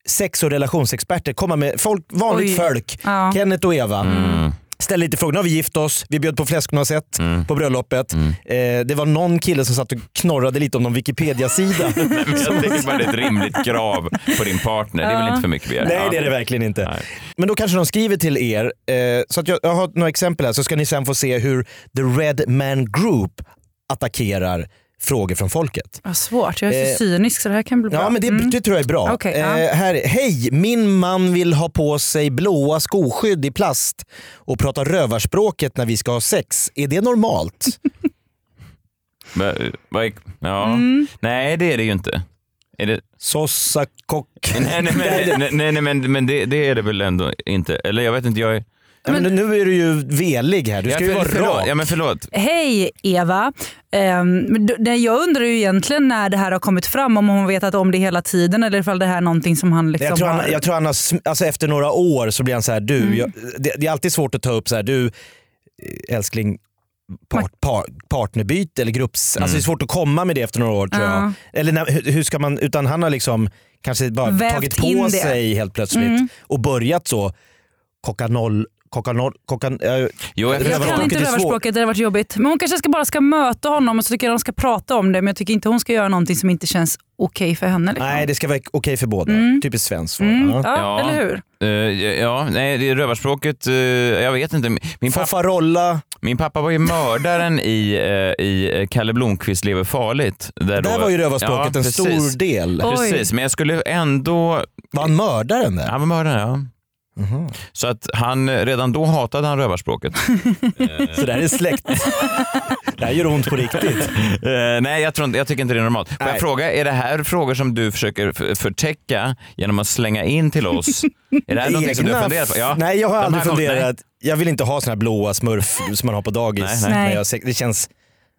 Speaker 6: sex och relationsexperter. Komma med folk, vanligt
Speaker 5: Oj.
Speaker 6: folk.
Speaker 5: Ja.
Speaker 6: Kenneth och Eva.
Speaker 1: Mm.
Speaker 6: Ställ lite frågor. Nu har vi gift oss, vi bjöd på fläskknasset på bröllopet.
Speaker 1: Mm.
Speaker 6: Eh, det var någon kille som satt och knorrade lite om någon Wikipedia-sida.
Speaker 1: Nej, men Jag tycker bara det är ett rimligt krav på din partner. Det är väl
Speaker 6: Ja.
Speaker 1: inte för mycket begärt?
Speaker 6: Nej,
Speaker 1: Ja.
Speaker 6: det är det verkligen inte. Men då kanske de skriver till er, eh, så att jag, jag har några exempel här så ska ni sen få se hur The Red Man Group attackerar frågor från folket.
Speaker 5: Vad svårt, jag är så
Speaker 6: Eh,
Speaker 5: cynisk så det här kan bli bra. Mm.
Speaker 6: Ja men det, det tror jag är bra.
Speaker 5: Okej,
Speaker 6: eh,
Speaker 5: ja.
Speaker 6: här, är- Hej, min man vill ha på sig blåa skoskydd i plast och prata rövarspråket när vi ska ha sex. Är det normalt?
Speaker 1: Va- va- eh, Ja. Nej, det är det ju inte. Är det...
Speaker 6: Mm. Sossa kock.
Speaker 1: Nej, nej, men, nej, nej, nej, men, men det, det är det väl ändå inte. Eller jag vet inte, jag är...
Speaker 6: Ja, men nu är du ju velig här. Du ska ju vara
Speaker 1: förlåt.
Speaker 6: rak.
Speaker 1: Ja, men förlåt.
Speaker 5: Hej Eva. Ehm, men d- nej, jag undrar ju egentligen när det här har kommit fram, om hon vetat om det hela tiden eller ifall det här är någonting som han liksom
Speaker 6: jag, tror
Speaker 5: har...
Speaker 6: han, jag tror han har, sm- alltså efter några år så blir han så här, du,
Speaker 5: Mm.
Speaker 6: jag, det, det är alltid svårt att ta upp så här, du eh, älskling, part, par, partnerbyte eller grupps... Alltså det är svårt att komma med det efter några år tror
Speaker 5: Ja.
Speaker 6: jag. Eller när, hur, hur ska man, utan han har liksom kanske bara
Speaker 5: Vävt
Speaker 6: tagit
Speaker 5: in
Speaker 6: på
Speaker 5: det.
Speaker 6: sig helt plötsligt
Speaker 5: Mm.
Speaker 6: och börjat så, kocka noll, kocka noll, kocka... Äh,
Speaker 1: Jo,
Speaker 5: Jag kan inte rövarspråket, det har varit jobbigt. Men hon kanske ska bara ska möta honom och så tycker jag de ska prata om det men jag tycker inte hon ska göra någonting som inte känns okej för henne. Liksom.
Speaker 6: Nej, det ska vara okej för båda. Typiskt svenskt svar.
Speaker 5: Mm, ja, eller hur?
Speaker 1: Eh, ja, nej, det är rövarspråket. eh, jag vet inte. Min
Speaker 6: pappa,
Speaker 1: min pappa var ju mördaren i, eh, i eh, Kalle Blomkvist lever farligt. Där,
Speaker 6: Där var ju rövarspråket en stor del. Oj.
Speaker 1: Precis, men jag skulle ändå...
Speaker 6: Var han mördaren där? Mhm.
Speaker 1: Han var mördaren, ja. Så att han, eh, redan då hatade han rövarspråket.
Speaker 6: Så det här är släkt. det här gör ont på riktigt.
Speaker 1: Eh, nej, jag, tror inte, jag tycker inte det är normalt. Får jag
Speaker 6: Nej.
Speaker 1: fråga, är det här frågor som du försöker f- förtäcka genom att slänga in till oss? Är det här någonting som du har
Speaker 6: Egna
Speaker 1: funderat på?
Speaker 6: f- Nej, jag har
Speaker 1: De här
Speaker 6: aldrig
Speaker 1: kom- nej.
Speaker 6: funderat. Jag vill inte ha såna här blåa smurf som man har på dagis.
Speaker 1: Nej, nej.
Speaker 6: när
Speaker 1: Nej.
Speaker 6: jag ser- det känns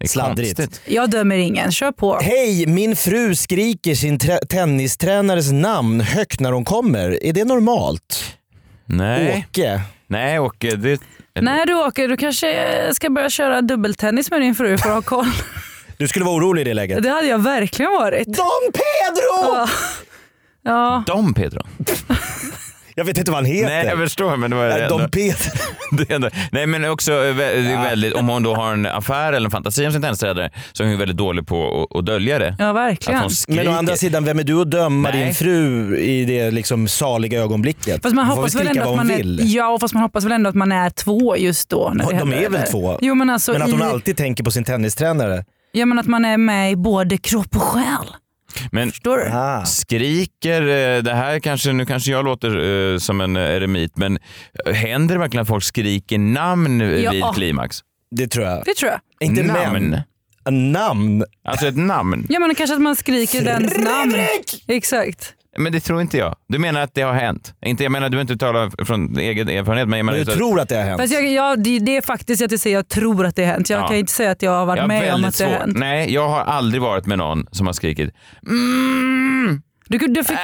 Speaker 6: sladdrigt.
Speaker 5: Jag dömer ingen, kör på.
Speaker 6: Hej, min fru skriker sin trä- tennistränares namn högt när hon kommer. Är det normalt?
Speaker 1: Nej.
Speaker 6: Åke.
Speaker 1: Nej, Åke. Det...
Speaker 5: När du åker, du kanske eh, ska börja köra dubbeltennis med din fru för att ha koll.
Speaker 6: Du skulle vara orolig i det läget.
Speaker 5: Det hade jag verkligen varit.
Speaker 6: Don Pedro!
Speaker 5: Ja. ja.
Speaker 1: Dom Pedro.
Speaker 6: Jag vet inte vad han heter.
Speaker 1: Nej, jag förstår. Men det var
Speaker 6: Nej, Dom
Speaker 1: det är ändå... Nej, men också eh, vä- det är väldigt, om hon då har en affär eller en fantasi om sin tennisträdare så är hon ju väldigt dålig på att, att dölja det.
Speaker 5: Ja,
Speaker 1: Att
Speaker 5: verkligen.
Speaker 1: hon skriker.
Speaker 6: Men å andra sidan, vem är du att döma
Speaker 1: Nej.
Speaker 6: din fru i det liksom saliga ögonblicket?
Speaker 5: Fast man
Speaker 6: Hon får
Speaker 5: hoppas väl
Speaker 6: skrika
Speaker 5: ändå
Speaker 6: vad
Speaker 5: att
Speaker 6: hon
Speaker 5: man är,
Speaker 6: vill.
Speaker 5: ja, fast man hoppas väl ändå att man är två just då. När det
Speaker 6: de
Speaker 5: händer,
Speaker 6: är väl
Speaker 5: eller?
Speaker 6: två?
Speaker 5: Jo, men, alltså
Speaker 6: men att
Speaker 5: i,
Speaker 6: hon alltid tänker på sin tennistränare.
Speaker 5: ja, men att man är med i både kropp och själ.
Speaker 1: Men skriker, eh, det här kanske, nu kanske jag låter eh, som en eh, eremit, men händer det verkligen att folk skriker namn eh,
Speaker 5: Ja.
Speaker 1: vid klimax?
Speaker 6: Det tror jag.
Speaker 5: Det tror jag.
Speaker 1: Namn.
Speaker 6: namn.
Speaker 1: Alltså ett namn?
Speaker 5: Ja men kanske att man skriker dens namn. Exakt.
Speaker 1: Men det tror inte jag. Du menar att det har hänt? Inte, jag menar, du behöver inte tala från egen erfarenhet. Men jag menar
Speaker 6: Du
Speaker 1: just
Speaker 6: tror att det har hänt?
Speaker 5: Fast jag, jag, det, det är faktiskt att jag säger jag tror att det har hänt. Jag
Speaker 1: Ja.
Speaker 5: kan inte säga att jag har varit
Speaker 1: Jag har
Speaker 5: med om
Speaker 1: väldigt
Speaker 5: att det har
Speaker 1: svårt-
Speaker 5: hänt.
Speaker 1: Nej, jag har aldrig varit med någon som har skrikit Mm.
Speaker 5: Du, kunde- du fick...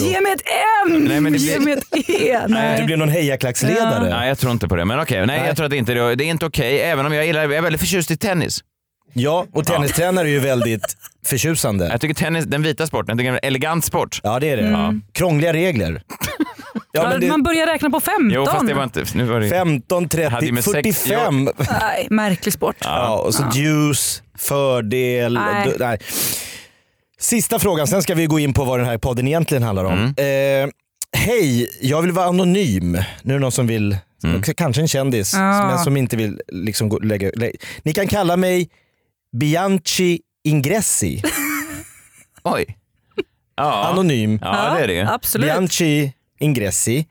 Speaker 5: Ge mig ett M!
Speaker 1: Äh. Nej, men det
Speaker 5: Ge
Speaker 1: blir-
Speaker 5: mig ett E!
Speaker 6: Du
Speaker 5: Nej.
Speaker 6: blev någon hejarklacksledare.
Speaker 1: Eh, Nej, jag tror inte på det. Men okej, nej, jag tror att det inte det. Det är inte okej, även om jag gillar Jag är väldigt förtjust i tennis.
Speaker 6: Ja, och tennistränare är ju väldigt förtjusande.
Speaker 1: Jag tycker tennis, den vita sporten, jag tycker det är en elegant sport.
Speaker 6: Ja, det är det.
Speaker 5: Mm.
Speaker 6: Krångliga regler. Ja, men det-
Speaker 5: Man börjar räkna på 15.
Speaker 1: Jo, fast det var inte... Nu var det...
Speaker 6: 15, 30,
Speaker 1: Hade ju med sex-
Speaker 6: 45.
Speaker 5: Nej, märklig sport.
Speaker 6: Ja, och så juice, fördel.
Speaker 5: Nej.
Speaker 6: d- nej. Sista frågan, sen ska vi gå in på vad den här podden egentligen handlar
Speaker 1: Mm.
Speaker 6: om. Eh, Hej, jag vill vara anonym. Nu är det någon som vill,
Speaker 1: Mm.
Speaker 6: k- kanske en kändis,
Speaker 5: Ja.
Speaker 6: men som inte vill liksom gå, lägga, lä, Ni kan kalla mig Bianchi Ingressi.
Speaker 1: Oj.
Speaker 6: Anonym.
Speaker 1: Ja, det är det.
Speaker 5: absolut.
Speaker 6: Bianchi Ingressi.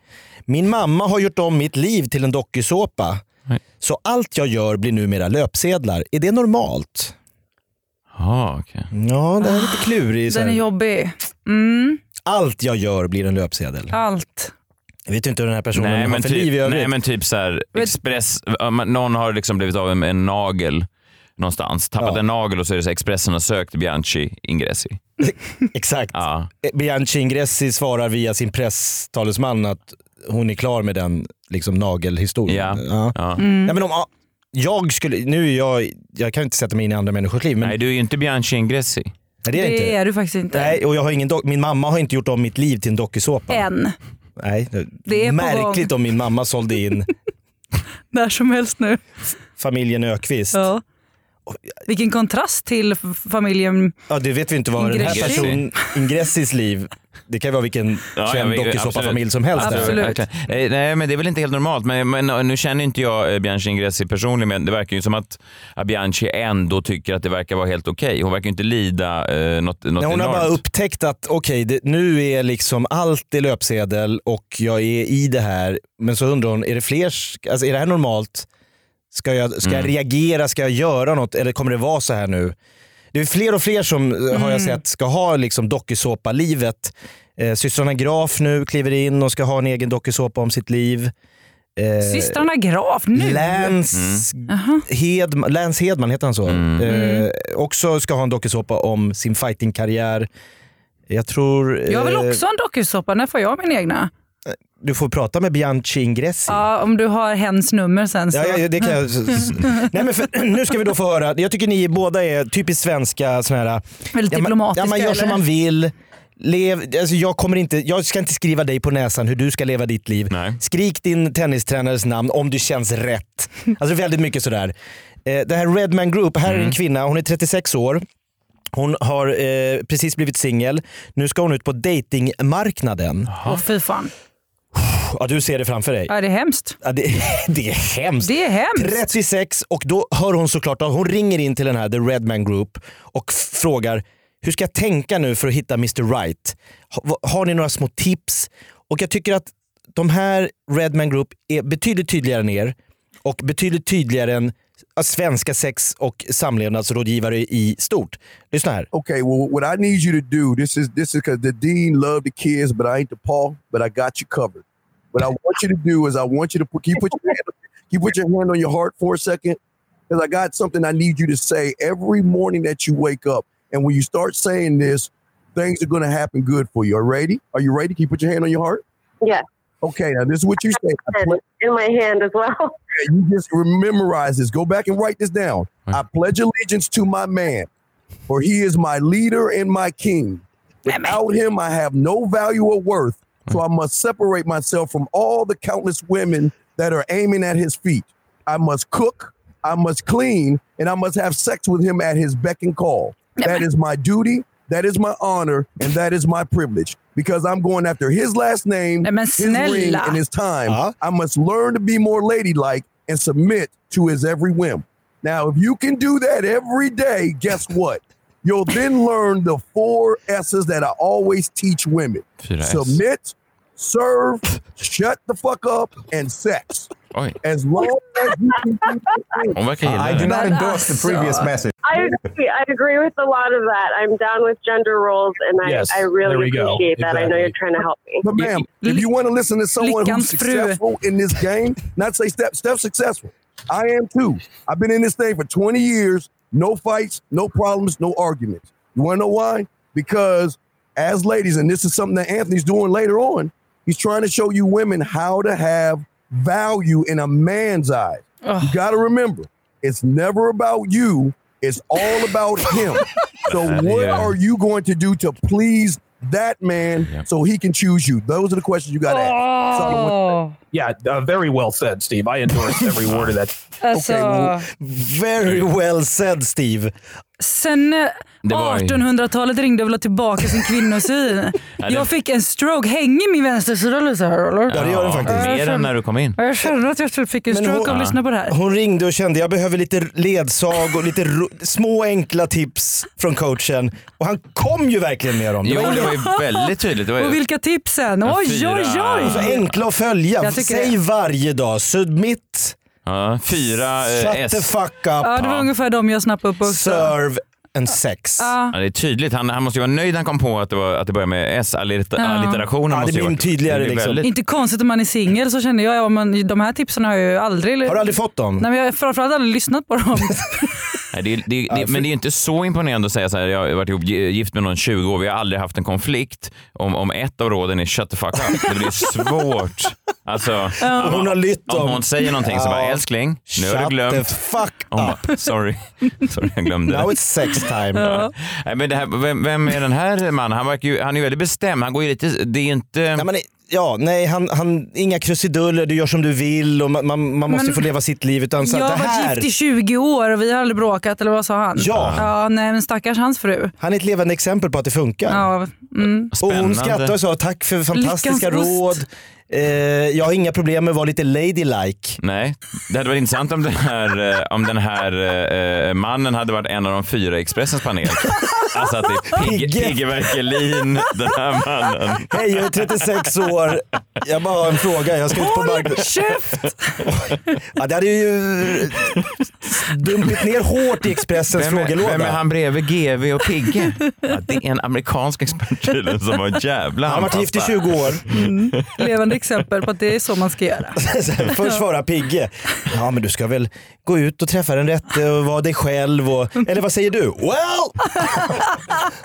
Speaker 6: Min mamma har gjort om mitt liv till en dokusåpa. Så allt jag gör blir numera löpsedlar. Är det normalt?
Speaker 1: Ja, okej.
Speaker 6: Ja, den är lite klurig. så
Speaker 5: Den är
Speaker 6: här.
Speaker 5: jobbig. Mm,
Speaker 6: Allt jag gör blir en löpsedel.
Speaker 5: allt.
Speaker 6: Jag vet ju inte hur den här personen
Speaker 1: Nej,
Speaker 6: har
Speaker 1: men
Speaker 6: för liv i
Speaker 1: typ,
Speaker 6: övrigt.
Speaker 1: nej men typ såhär, Express, ja, men någon har liksom blivit av med en nagel någonstans, tappat en nagel och så är det så här, Expressen har sökt Bianchi Ingressi.
Speaker 6: Exakt.
Speaker 1: Ja.
Speaker 6: Eh, Bianchi Ingressi svarar via sin presstalesman att hon är klar med den liksom, nagelhistorien. Ja. Ja.
Speaker 1: Mm.
Speaker 6: men om, ja, jag skulle, nu är jag, jag kan inte sätta mig in i andra människors liv. Men,
Speaker 1: Nej, du är ju inte Bianchi Ingressi.
Speaker 6: Nej, det är jag inte.
Speaker 5: du faktiskt inte.
Speaker 6: Nej, och jag har ingen do- min mamma har inte gjort om mitt liv till en dokusåpa.
Speaker 5: Än.
Speaker 6: Nej,
Speaker 5: Det är på
Speaker 6: märkligt
Speaker 5: gång.
Speaker 6: om min mamma sålde in
Speaker 5: När som helst nu.
Speaker 6: familjen Ökvist.
Speaker 5: Ja. Vilken kontrast till f- familjen.
Speaker 6: Ja, det vet vi inte vad den här
Speaker 5: Ingressi.
Speaker 6: personen, Ingressis liv, det kan ju vara vilken känd
Speaker 1: jag vet-
Speaker 6: dokusåpafamilj
Speaker 1: absolut.
Speaker 6: som helst.
Speaker 1: Absolut. Verkligen. Eh, Nej, men det är väl inte helt normalt. Men, men eh, nu känner inte jag eh, Bianchi Ingressi personligen, men det verkar ju som att eh, Bianchi ändå tycker att det verkar vara helt okej. Hon verkar ju inte lida eh, något, något
Speaker 6: Nej, hon har
Speaker 1: enormt.
Speaker 6: bara upptäckt att okej, det- nu är liksom allt i löpsedel och jag är i det här. Men så undrar hon, är det fler, sk- alltså, är det här normalt? Ska, jag, ska jag
Speaker 1: Mm.
Speaker 6: reagera? Ska jag göra något? Eller kommer det vara så här nu? Det är fler och fler som, eh, har jag
Speaker 1: Mm.
Speaker 6: sett, ska ha liksom dokusåpa-livet. Eh, systrarna Graf nu kliver in och ska ha en egen dokusåpa om sitt liv. Eh,
Speaker 5: Systrarna Graf nu? Mm.
Speaker 6: Lance, Hedman, Lance Hedman, heter han så? Eh, också ska ha en dokusåpa om sin fightingkarriär. Jag tror...
Speaker 5: Jag vill
Speaker 6: eh,
Speaker 5: också ha en dokusåpa. När får jag min egna?
Speaker 6: Du får prata med Bianchi Ingressi.
Speaker 5: Ja, om du har hens nummer sen så.
Speaker 6: Ja, ja, ja, det kan jag... Nej, men för, nu ska vi då få höra, jag tycker ni båda är typiskt svenska såna här...
Speaker 5: Väldigt
Speaker 6: ja, man,
Speaker 5: diplomatiska,
Speaker 6: ja, man gör som
Speaker 5: eller?
Speaker 6: man vill. Lev, alltså jag, kommer inte, jag ska inte skriva dig på näsan hur du ska leva ditt liv. Skrik din tennistränares namn om det känns rätt. Alltså väldigt mycket sådär. Eh, det här Redman Group, här är en kvinna, hon är 36 år. Hon har eh, precis blivit singel. Nu ska hon ut på datingmarknaden.
Speaker 5: Åh fy fan.
Speaker 6: Ja, du ser det framför dig.
Speaker 5: Ja, det är hemskt.
Speaker 6: Ja, det, det är hemskt.
Speaker 5: Det är hemskt.
Speaker 6: 36 och då hör hon såklart av, hon ringer in till den här The Redman Group och f- frågar hur ska jag tänka nu för att hitta Mr Right? Ha, va- har ni några små tips? Och jag tycker att de här Redman Group är betydligt tydligare än er och betydligt tydligare än ja, svenska sex och samlevnadsrådgivare i stort. Lyssna här.
Speaker 2: okay, well, what I need you to do, this is this is because the dean loved the kids, but I ain't the Paul, but I got you covered. What I want you to do is I want you to put, can you put your hand, can you put your hand on your heart for a second? Because I got something I need you to say every morning that you wake up. And when you start saying this, things are going to happen good for you. Are you ready? Are you ready? Can you put your hand on your heart?
Speaker 3: Yeah.
Speaker 2: Okay, now this is what you say. I pledge-
Speaker 3: In my hand as well.
Speaker 2: yeah, you just memorize this. Go back and write this down. I pledge allegiance to my man, for he is my leader and my king. Without him, I have no value or worth. So I must separate myself from all the countless women that are aiming at his feet. I must cook, I must clean, and I must have sex with him at his beck and call. That is my duty. That is my honor, and that is my privilege because I'm going after his last name, his ring,
Speaker 5: snälla.
Speaker 2: and his time. I must learn to be more ladylike and submit to his every whim. Now, if you can do that every day, guess what? You'll then learn the four S's that I always teach women
Speaker 1: Should I ask?
Speaker 2: submit, serve, shut the fuck up, and sex. As long as you can do
Speaker 1: Hon verkar gilla
Speaker 2: I do
Speaker 1: det.
Speaker 2: not endorse the previous
Speaker 3: I I agree. I agree with a lot of that. I'm down with gender roles, and I,
Speaker 2: Yes,
Speaker 3: I
Speaker 2: there
Speaker 3: really
Speaker 2: we go.
Speaker 3: appreciate that. I know you're
Speaker 2: Exactly.
Speaker 3: trying to help me.
Speaker 2: But ma'am, if you want to listen to someone who's
Speaker 3: Lyckans fru.
Speaker 2: successful in this game, not say Steph, Steph's successful. I am too. I've been in this thing for 20 years, no fights, no problems, no arguments. You want to know why? Because as ladies, and this is something that Anthony's doing later on, he's trying to show you women how to have value in a man's eyes. You got to remember, it's never about you, it's all about him. so, what
Speaker 7: Yeah.
Speaker 2: are you going to do to please that man so he can choose you? Those are the questions you got to
Speaker 5: Oh.
Speaker 2: ask. Solomon, what you think?
Speaker 7: Yeah, uh, very well said, Steve. I endorse every word of that.
Speaker 5: Alltså,
Speaker 6: oh,
Speaker 7: Very well said, Steve.
Speaker 5: sen eh,
Speaker 7: Det var ju-
Speaker 5: 1800-talet ringde jag vill ha tillbaka sin kvinnosyn.
Speaker 1: det-
Speaker 5: Jag fick en stroke, hänger min vänstersida lite såhär? eller?
Speaker 1: Mer än när du kom in.
Speaker 5: Ja, Jag känner att jag typ fick en
Speaker 1: Men
Speaker 5: stroke
Speaker 1: hon-
Speaker 5: av att lyssna på det här.
Speaker 6: Hon ringde och kände jag behöver lite ledsag och lite ro- små enkla tips från coachen. Och han kom ju verkligen med dem.
Speaker 1: Jo, det var ju väldigt tydligt. Det var
Speaker 5: Och
Speaker 1: ju...
Speaker 5: vilka tipsen?
Speaker 1: Ja,
Speaker 5: Oj,
Speaker 1: fyra.
Speaker 5: oj, oj!
Speaker 1: Så
Speaker 6: Enkla att följa.
Speaker 5: Jag tycker
Speaker 6: Säg
Speaker 5: det.
Speaker 6: varje dag. Submit,
Speaker 1: ja, fyra eh,
Speaker 6: shut
Speaker 1: S.
Speaker 6: the fuck up,
Speaker 5: Ja, det var ungefär de jag snappade upp också.
Speaker 6: serve and sex.
Speaker 5: Ja.
Speaker 1: Ja, det är tydligt. Han, han måste ju vara nöjd han kom på att det, var, att det började med S. Alliter,
Speaker 5: Ja.
Speaker 1: Alliterationen
Speaker 6: Ja, det
Speaker 1: måste ju
Speaker 6: blir
Speaker 1: vara-
Speaker 6: tydligare
Speaker 1: det blir
Speaker 6: liksom.
Speaker 1: väldigt-
Speaker 5: Inte konstigt om man är singel så känner jag, ja, men de här tipsen har jag ju aldrig...
Speaker 6: Har du aldrig fått dem?
Speaker 5: Nej, men jag har framförallt aldrig lyssnat på dem.
Speaker 1: Nej, det, det, det, men det är ju inte så imponerande att säga så här, jag har varit ihop, gift med någon 20 år, vi har aldrig haft en konflikt. Om, om ett av råden är shut the fuck up, det blir svårt. Alltså,
Speaker 6: Ja.
Speaker 1: om-
Speaker 6: Hon har lytt
Speaker 1: Om
Speaker 6: dem.
Speaker 1: hon säger någonting så bara,
Speaker 6: Ja.
Speaker 1: älskling, nu har
Speaker 6: Shut
Speaker 1: du glömt.
Speaker 6: the fuck
Speaker 1: Hon bara, sorry, sorry jag glömde.
Speaker 6: Now it's sex time.
Speaker 1: Ja. Nej, men det här, vem, vem är den här mannen? Han, verkar ju, han är ju väldigt bestämd. Han går ju lite, det är inte...
Speaker 6: Nej, men, ja, nej han, han, inga krusiduller, du gör som du vill och man, man, man måste
Speaker 5: Men-
Speaker 6: få leva sitt liv. Utan så
Speaker 5: jag
Speaker 6: att
Speaker 5: har
Speaker 6: det
Speaker 5: varit
Speaker 6: här,
Speaker 5: gift i 20 år och vi har aldrig bråkat, eller vad sa han?
Speaker 6: Ja.
Speaker 5: ja nej, men stackars hans fru.
Speaker 6: Han är ett levande exempel på att det funkar.
Speaker 5: Ja, mm.
Speaker 6: Och hon skrattade och sa tack för fantastiska
Speaker 5: Lyckans ost."
Speaker 6: råd. Eh, jag har inga problem med att vara lite ladylike.
Speaker 1: Nej, det hade varit intressant om den här, eh, om den här eh, eh, mannen hade varit en av de fyra i Expressens panel. Alltså att det är Pigge,
Speaker 6: Pigge.
Speaker 1: Pigge Verkelin, den här mannen.
Speaker 6: Hej, jag är 36 år. Jag bara har en fråga. Jag ska ut på marknaden.
Speaker 5: käft!
Speaker 6: Ja, det hade ju dumpit ner hårt i Expressens
Speaker 1: Vem är,
Speaker 6: frågelåda.
Speaker 1: vem är han bredvid GV och Pigge? Ja, det är en amerikansk expert tydligen som var jävla
Speaker 6: Han har varit gift i 20 år.
Speaker 5: Mm. Levande exempel på att det är så man ska göra.
Speaker 6: Först vara Pigge. Ja, men du ska väl gå ut och träffa den rätte och vara dig själv. Och, eller vad säger du? Well,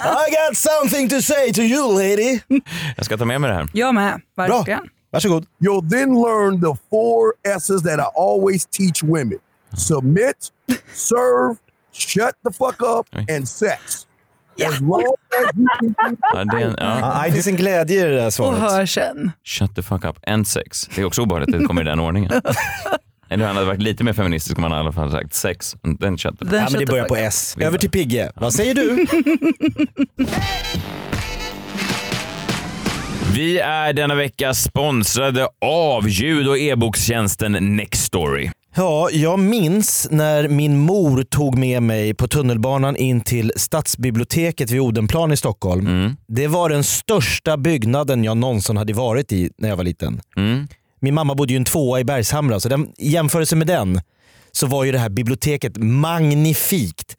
Speaker 6: I got something to say to you lady.
Speaker 1: Jag ska ta med mig det här.
Speaker 5: Jag med, verkligen.
Speaker 6: Varsågod.
Speaker 2: You'll then learn the four S's that I always teach women.
Speaker 1: Mm-hmm.
Speaker 2: Submit, serve, shut the fuck up, and sex. As long as you can do
Speaker 1: Ja, det är en, ja.
Speaker 6: Ja, det är sin glädje i det där
Speaker 5: Och
Speaker 6: svaret.
Speaker 5: hör sen.
Speaker 1: Shut the fuck up and sex. Det är också obehagligt att det kommer i den ordningen. Eller han hade varit lite mer feministisk om han i alla fall sagt sex. Den shut the fuck
Speaker 6: Ja, men
Speaker 1: up.
Speaker 6: det börjar på S. Över till Pigge. Vad säger du?
Speaker 1: Vi är denna vecka sponsrade av ljud och e-bokstjänsten Nextory.
Speaker 6: Ja, jag minns när min mor tog med mig på tunnelbanan in till Stadsbiblioteket vid Odenplan i Stockholm.
Speaker 1: Mm.
Speaker 6: Det var den största byggnaden jag någonsin hade varit i när jag var liten.
Speaker 1: Mm.
Speaker 6: Min mamma bodde ju i en tvåa i Bergshamra, så den, i jämförelse med den så var ju det här biblioteket magnifikt.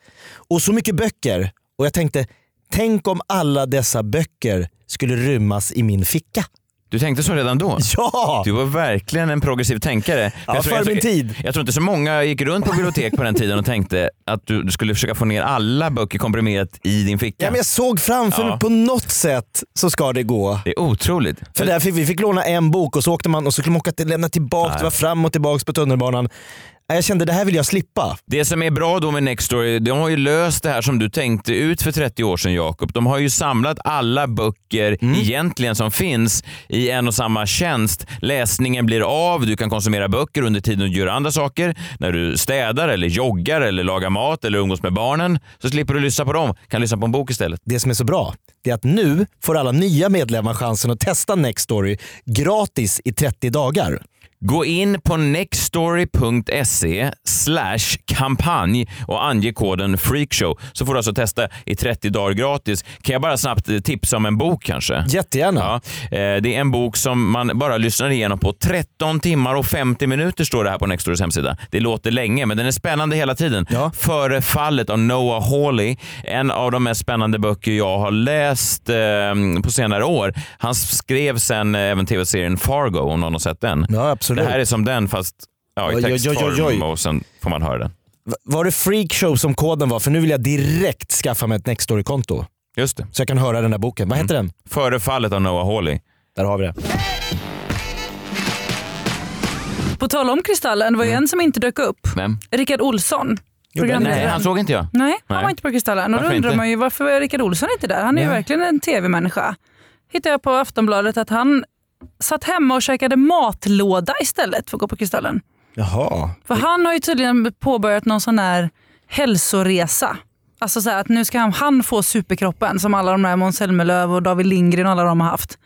Speaker 6: Och så mycket böcker. Och jag tänkte, tänk om alla dessa böcker skulle rymmas i min ficka.
Speaker 1: Du tänkte så redan då?
Speaker 6: Ja!
Speaker 1: Du var verkligen en progressiv tänkare.
Speaker 6: Ja,
Speaker 1: tror-
Speaker 6: före min
Speaker 1: tror-
Speaker 6: tid.
Speaker 1: Jag tror inte så många gick runt på bibliotek på den tiden och tänkte att du du skulle försöka få ner alla böcker komprimerat i din ficka.
Speaker 6: Ja, men jag såg framför
Speaker 1: Ja.
Speaker 6: mig på något sätt så ska det gå.
Speaker 1: Det är otroligt.
Speaker 6: För där fick, vi fick låna en bok och så åkte man och så skulle man åka till, lämna tillbaka, det var fram och tillbaka på tunnelbanan. Nej, Jag kände det här vill jag slippa.
Speaker 1: Det som är bra då med Nextory, de har ju löst det här som du tänkte ut för 30 år sedan Jakob. De har ju samlat alla böcker egentligen som finns i en och samma tjänst. Läsningen blir av, du kan konsumera böcker under tiden du gör andra saker. När du städar eller joggar eller lagar mat eller umgås med barnen så slipper du lyssna på dem, kan lyssna på en bok istället.
Speaker 6: Det som är så bra, det är att nu får alla nya medlemmar chansen att testa Nextory gratis i 30 dagar.
Speaker 1: Gå in på nextstory.se slash kampanj och ange koden freakshow så får du alltså testa i 30 dagar gratis. Kan jag bara snabbt eh, tipsa om en bok kanske? Jättegärna. Ja, eh, det är en bok som man bara lyssnar igenom på 13 timmar och 50 minuter står det här på Nextdoors hemsida. Det låter länge men den är spännande hela tiden. Före fallet av Noah Hawley, en av de mest spännande böcker jag har läst eh, på senare år. Han skrev sen eh, även tv-serien Fargo om någon har sett den.
Speaker 6: Ja, absolut.
Speaker 1: Det här är som den fast ja, i
Speaker 6: Oj, oj, oj, oj,
Speaker 1: textform
Speaker 6: oj.
Speaker 1: och sen får man höra den.
Speaker 6: Va- Var det freakshow som koden var? För nu vill jag direkt skaffa mig ett Nextory-konto.
Speaker 1: Just det. Mm.
Speaker 6: Så jag kan höra den där boken. Vad heter den?
Speaker 1: Före fallet av Noah Hawley.
Speaker 6: Där har vi det.
Speaker 5: På tal om Kristallen, det var ju
Speaker 6: Mm.
Speaker 5: en som inte dök upp.
Speaker 1: Vem?
Speaker 5: Rickard Olsson. programledaren.
Speaker 1: Nej, han såg inte jag.
Speaker 5: Nej, han var inte på Kristallen. Och då
Speaker 1: Varför
Speaker 5: undrar
Speaker 1: inte?
Speaker 5: man ju varför var Rickard Olsson inte där? Han är ju
Speaker 1: Nej.
Speaker 5: verkligen en tv-människa. Hittade jag på Aftonbladet att han satt hemma och käkade matlåda istället för att gå på Kristallen.
Speaker 6: Jaha.
Speaker 5: För han har ju tydligen påbörjat någon sån här hälsoresa. Alltså så här att nu ska han, han få superkroppen som alla de där Måns Zelmerlöw och David Lindgren och alla de har haft.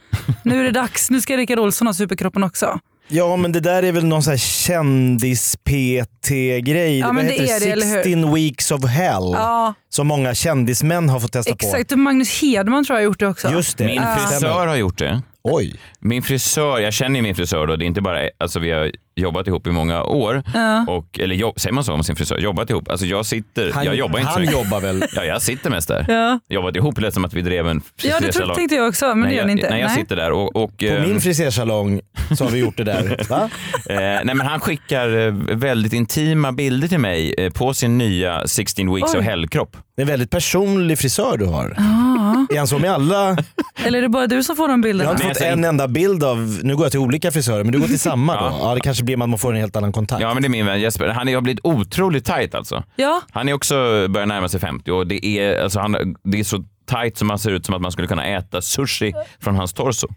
Speaker 5: Nu är det dags, nu ska Rickard Olsson ha superkroppen också.
Speaker 6: Ja, men det där är väl någon sån här kändis-PT-grej.
Speaker 5: Ja,
Speaker 6: Vad
Speaker 5: men det
Speaker 6: heter
Speaker 5: är det, eller hur?
Speaker 6: 16 weeks of hell.
Speaker 5: Ja.
Speaker 6: Som många kändismän har fått testa på.
Speaker 5: Exakt, och Magnus Hedman tror jag har gjort det också.
Speaker 1: Min
Speaker 5: Ja.
Speaker 1: frisör har gjort det.
Speaker 6: Oj.
Speaker 1: Min frisör, jag känner ju min frisör då, det är inte bara, alltså vi har jobbat ihop i många år.
Speaker 5: Ja.
Speaker 1: Och, eller jobb, säger man så om sin frisör? Jobbat ihop? Alltså jag sitter,
Speaker 6: Han-
Speaker 1: jag jobbar inte så
Speaker 6: han
Speaker 1: mycket.
Speaker 6: jobbar väl?
Speaker 1: Ja, jag sitter mest där.
Speaker 5: Ja.
Speaker 1: Jobbat ihop lät som att vi drev en
Speaker 5: Ja, det tro-
Speaker 1: frisersalong.
Speaker 5: tänkte jag också, men
Speaker 1: nej,
Speaker 5: det gör ni
Speaker 1: jag-
Speaker 5: inte.
Speaker 1: Nej, jag
Speaker 5: Nej.
Speaker 1: sitter där och... och
Speaker 6: På min frisersalong så har vi gjort det där. Va?
Speaker 1: eh, nej, men han skickar eh, väldigt intima bilder till mig eh, på sin nya 16 weeks
Speaker 5: Oj.
Speaker 1: of hell-kropp.
Speaker 6: Det är en väldigt personlig frisör du har.
Speaker 5: Ja.
Speaker 6: Är han så med alla?
Speaker 5: Ah. Eller är det bara du som får de
Speaker 6: Jag har
Speaker 5: bilderna?
Speaker 6: inte fått en enda bild av, nu går jag till olika frisörer, men du går till samma då? Ja, det kanske blir att man får en helt annan kontakt.
Speaker 1: Ja, men det är min vän Jesper. Han är- har blivit otroligt tajt alltså.
Speaker 5: Ja.
Speaker 1: Han är också börjar närma sig 50 och det är, alltså, han, det är så tajt som man ser ut som att man skulle kunna äta sushi från hans torso.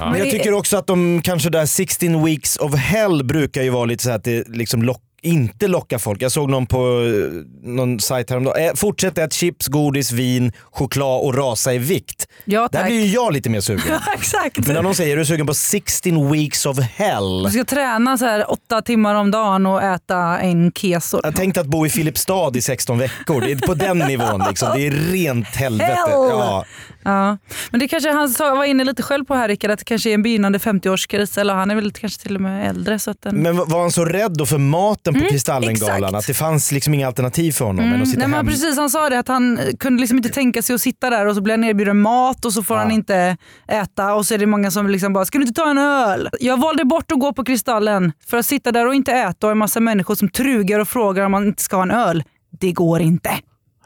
Speaker 1: Ja.
Speaker 6: Men jag tycker också att de kanske där 16 weeks of hell brukar ju vara lite så här att det liksom lock, inte lockar folk. Jag såg någon på eh, någon sajt häromdagen. Eh, Fortsätt äta chips, godis, vin, choklad och rasa i vikt.
Speaker 5: Ja,
Speaker 6: där
Speaker 5: tack.
Speaker 6: blir ju jag lite mer sugen.
Speaker 5: Ja, exakt.
Speaker 6: Men när någon säger är du sugen på 16 weeks of hell?
Speaker 5: Du ska träna så här åtta timmar om dagen och äta en keso.
Speaker 6: Jag tänkte att bo i Filipstad i 16 veckor. Det är på den nivån liksom. Det är rent helvete.
Speaker 5: Hell!
Speaker 6: Ja.
Speaker 5: Ja. Men det kanske han sa, var inne lite själv på här Rickard, att det kanske är en begynnande 50-årskris. Eller han är väl kanske till och med äldre. Så att den...
Speaker 6: Men var han så rädd då för maten på
Speaker 5: Mm,
Speaker 6: Kristallengalan?
Speaker 5: exakt. Mm,
Speaker 6: Att det fanns liksom inga alternativ för honom än att sitta
Speaker 5: Nej, men
Speaker 6: hemma?
Speaker 5: precis, han sa det att han eh, kunde liksom inte tänka sig att sitta där och så blir han erbjuden mat och så får han inte äta och så är det många som liksom bara “ska du inte ta en öl?” Jag valde bort att gå på Kristallen för att sitta där och inte äta och en massa människor som trugar och frågar om man inte ska ha en öl. Det går inte.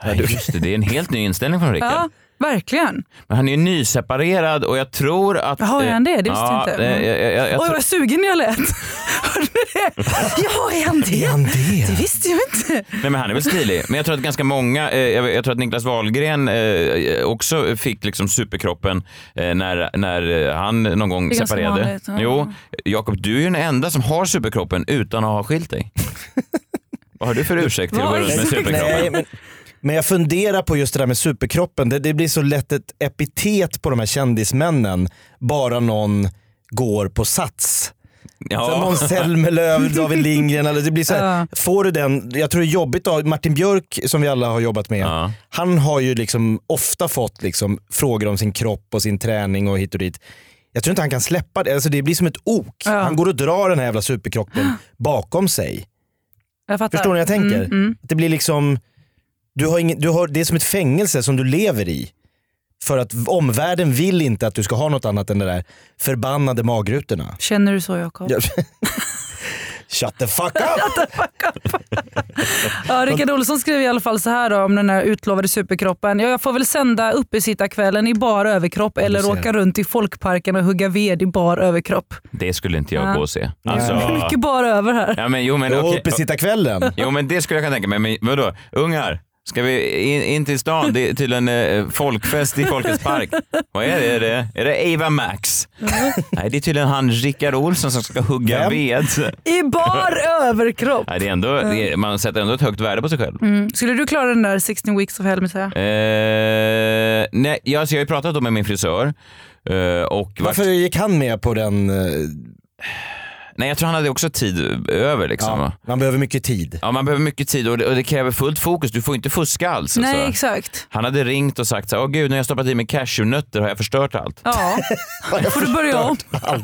Speaker 1: Ja, just det, det är en helt ny inställning från Rickard.
Speaker 5: Ja, verkligen.
Speaker 1: Men han är ju nyseparerad och jag tror att...
Speaker 5: Jaha, är han det? Det visste jag inte.
Speaker 1: eh, Jag, jag, jag, jag,
Speaker 5: Oj
Speaker 1: tror-
Speaker 5: vad sugen jag lät. Hörde ni det? Ja, är han det? Är han det? det visste jag inte.
Speaker 1: Nej, men han är väl stilig. Men jag tror att ganska många, eh, jag, jag tror att Niklas Wahlgren eh, också fick liksom superkroppen eh, när, när eh, han någon gång
Speaker 4: Det är ganska
Speaker 1: separerade.
Speaker 4: vanligt, ja.
Speaker 1: Jo, Jakob, du är ju den enda som har superkroppen utan att ha skilt dig. Vad har du för ursäkt till att gå runt med
Speaker 6: Nej,
Speaker 1: superkroppen?
Speaker 6: men, men jag funderar på just det där med superkroppen. Det, det blir så lätt ett epitet på de här kändismännen. Bara någon går på sats.
Speaker 1: Ja.
Speaker 6: Så Måns Zelmerlöw, David Lindgren. Eller det blir så här, Får du den, jag tror det är jobbigt då, Martin Björk som vi alla har jobbat med. Han har ju liksom ofta fått liksom frågor om sin kropp och sin träning och hit och dit. Jag tror inte han kan släppa det. Alltså det blir som ett ok. Han går och drar den här jävla superkroppen bakom sig.
Speaker 5: Jag fattar.
Speaker 6: Förstår ni vad jag tänker?
Speaker 5: Mm, mm.
Speaker 6: Att det blir liksom, du har ingen, du har, det är som ett fängelse som du lever i. För att omvärlden vill inte att du ska ha något annat än de där förbannade magrutorna.
Speaker 5: Känner du så Jakob?
Speaker 6: Ja. Shut the fuck up!
Speaker 5: Ja, Rickard Olsson skrev i alla fall så här då, om den här utlovade superkroppen. Ja, jag får väl sända uppesittarkvällen i bar överkropp eller
Speaker 1: ser.
Speaker 5: åka runt i folkparken och hugga ved i bar överkropp.
Speaker 1: Det skulle inte jag
Speaker 5: Ja.
Speaker 1: gå och se. Alltså-
Speaker 5: Det är mycket bar över här.
Speaker 1: Ja, men, jo, men,
Speaker 6: Och
Speaker 1: okej.
Speaker 6: uppesittarkvällen.
Speaker 1: Jo men det skulle jag kunna tänka mig. Men vadå, ungar? Ska vi in, in till stan? Det är tydligen eh, folkfest i Folkets park. Vad är det? Är det, är det Eva Max? Nej, det är tydligen han Rickard Olsson som ska hugga
Speaker 5: Vem?
Speaker 1: ved.
Speaker 5: I bar överkropp!
Speaker 1: Nej, det är ändå, det är, man sätter ändå ett högt värde på sig själv.
Speaker 5: Mm. Skulle du klara den där 16 weeks of hell Messiah?
Speaker 1: Eh, nej, jag, alltså jag har ju pratat om med min frisör. eh, och
Speaker 6: Varför gick han med på den? eh,
Speaker 1: Nej, jag tror han hade också tid över. Liksom. va?
Speaker 6: Man behöver mycket tid.
Speaker 1: Ja, man behöver mycket tid och det, och det kräver fullt fokus. Du får inte fuska alls.
Speaker 5: Nej,
Speaker 1: alltså.
Speaker 5: exakt.
Speaker 1: Han hade ringt och sagt så här, åh gud, när jag stoppat i mig cashewnötter har jag förstört allt.
Speaker 5: Ja, får du börja om.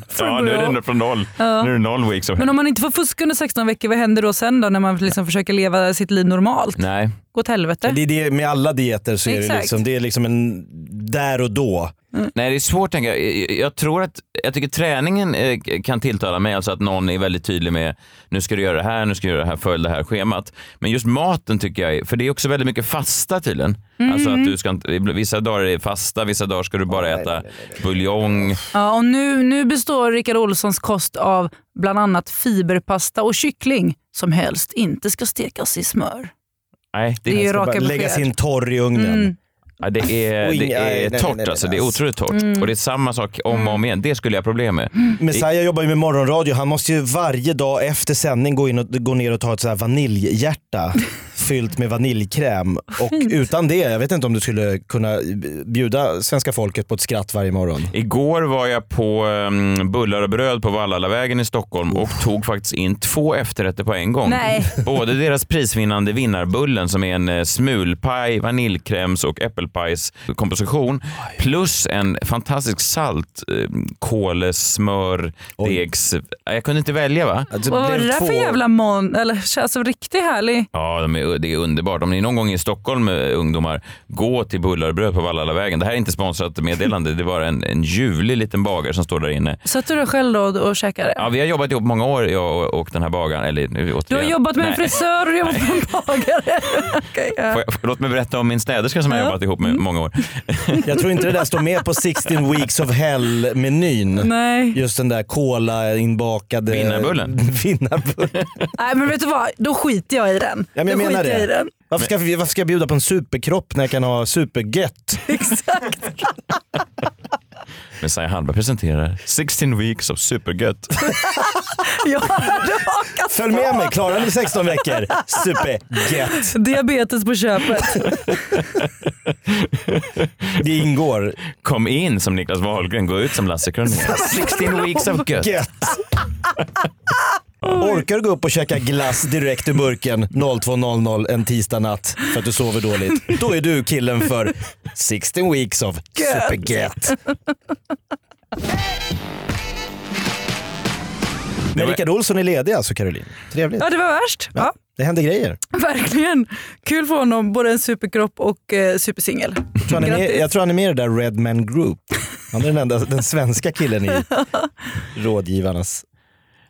Speaker 5: Får du
Speaker 1: Ja, nu
Speaker 5: börja
Speaker 1: är
Speaker 5: om.
Speaker 1: det från noll.
Speaker 5: Ja.
Speaker 1: Nu är det noll weeks of
Speaker 5: Men om man inte får fuska under 16 veckor, vad händer då sen då när man liksom försöker leva sitt liv normalt?
Speaker 1: Nej.
Speaker 5: Gå åt helvete.
Speaker 6: Men det är det, med alla dieter så är det,
Speaker 5: Exakt.
Speaker 6: liksom, det är liksom en där och då.
Speaker 5: Mm.
Speaker 1: Nej, det är svårt att tänka. Jag- Jag tror att, jag tycker träningen eh, kan tilltala mig, alltså att någon är väldigt tydlig med nu ska du göra det här, nu ska du göra det här, följ det här schemat. Men just maten tycker jag, är- för det är också väldigt mycket fasta tydligen.
Speaker 5: Mm.
Speaker 1: Alltså att du ska inte, vissa dagar är det fasta, vissa dagar ska du bara äta buljong.
Speaker 5: Ja, och nu, nu består Rickard Olssons kost av bland annat fiberpasta och kyckling som helst inte ska stekas i smör.
Speaker 1: Nej,
Speaker 5: Det är ju
Speaker 6: Den ska
Speaker 5: raka
Speaker 6: bara
Speaker 5: besked.
Speaker 6: Läggas in torr i ugnen.
Speaker 5: Mm.
Speaker 1: Ja, det är,
Speaker 6: Och inga-
Speaker 1: det
Speaker 6: nej, nej,
Speaker 1: är
Speaker 6: nej,
Speaker 1: torrt
Speaker 6: nej,
Speaker 1: alltså, det
Speaker 6: nej,
Speaker 1: är
Speaker 6: alltså.
Speaker 1: otroligt torrt.
Speaker 6: Mm.
Speaker 1: Och det är samma sak om
Speaker 5: Mm.
Speaker 1: och om igen, det skulle jag ha problem med.
Speaker 6: Messiah jobbar ju med morgonradio. Han måste ju varje dag efter sändning gå, in och, gå ner och ta ett så här vaniljhjärta fyllt med vaniljkräm. Och utan det, jag vet inte om du skulle kunna bjuda svenska folket på ett skratt varje morgon.
Speaker 1: Igår var jag på um, Bullar och bröd på Vallalavägen i Stockholm och tog faktiskt in två efterrätter på en gång.
Speaker 5: Nej.
Speaker 1: Både deras prisvinnande Vinnarbullen som är en eh, smulpaj, vaniljkräms och äppelpajskomposition plus en fantastisk salt, eh, kål, smör, degs... eh, Jag kunde inte välja va?
Speaker 5: Vad var det där för jävla mon... Eller alltså riktigt härlig.
Speaker 1: Ja, de är, det är underbart. Om ni någon gång är i Stockholm, eh, ungdomar, gå till Bullar och bröd på Vallalavägen. Det här är inte sponsrat meddelande. Det var en, en ljuvlig liten bagare som står där inne.
Speaker 5: Satt du där själv då och, och käkade?
Speaker 1: Ja, vi har jobbat ihop många år, jag och, och den här bagaren. Eller, nu,
Speaker 5: Du har
Speaker 1: återigen.
Speaker 5: jobbat med en
Speaker 1: Nej.
Speaker 5: frisör och du har jobbat med en bagare. Okej, ja.
Speaker 1: Får jag, låt mig berätta om min städerska som jag har jobbat ihop
Speaker 5: Mm.
Speaker 1: med många år.
Speaker 6: Jag tror inte det där står med på 16 weeks of hell-menyn.
Speaker 5: Nej.
Speaker 6: Just den där cola-inbakade...
Speaker 1: Vinnarbullen.
Speaker 6: Vinnarbullen.
Speaker 5: Nej men vet du vad, då skiter jag i den.
Speaker 6: Ja, men jag
Speaker 5: då
Speaker 6: menar
Speaker 5: skiter jag i
Speaker 6: det.
Speaker 5: den.
Speaker 6: Varför ska, varför ska jag bjuda på en superkropp när jag kan ha supergött?
Speaker 1: Messiah Hallberg presenterar 16 weeks of supergött.
Speaker 5: Jag hade hakat
Speaker 6: Följ med mig, klarar ni 16 veckor? Supergött.
Speaker 5: Diabetes på köpet.
Speaker 6: Det ingår.
Speaker 1: Kom in som Niklas Wahlgren, gå ut som Lasse Kronér. 16 weeks of gött.
Speaker 6: Orkar du gå upp och käka glass direkt ur burken 02.00 en tisdag natt för att du sover dåligt? Då är du killen för 16 weeks of
Speaker 11: Gött.
Speaker 6: supergött. Men Rickard Olsson är ledig alltså Caroline. Trevligt.
Speaker 5: Ja det var värst. Ja.
Speaker 6: Det händer grejer.
Speaker 5: Verkligen. Kul för honom, både en superkropp och eh, supersingel.
Speaker 6: Jag tror, han är med, jag tror han är med i det där Red Man Group. Han är den enda den svenska killen i rådgivarnas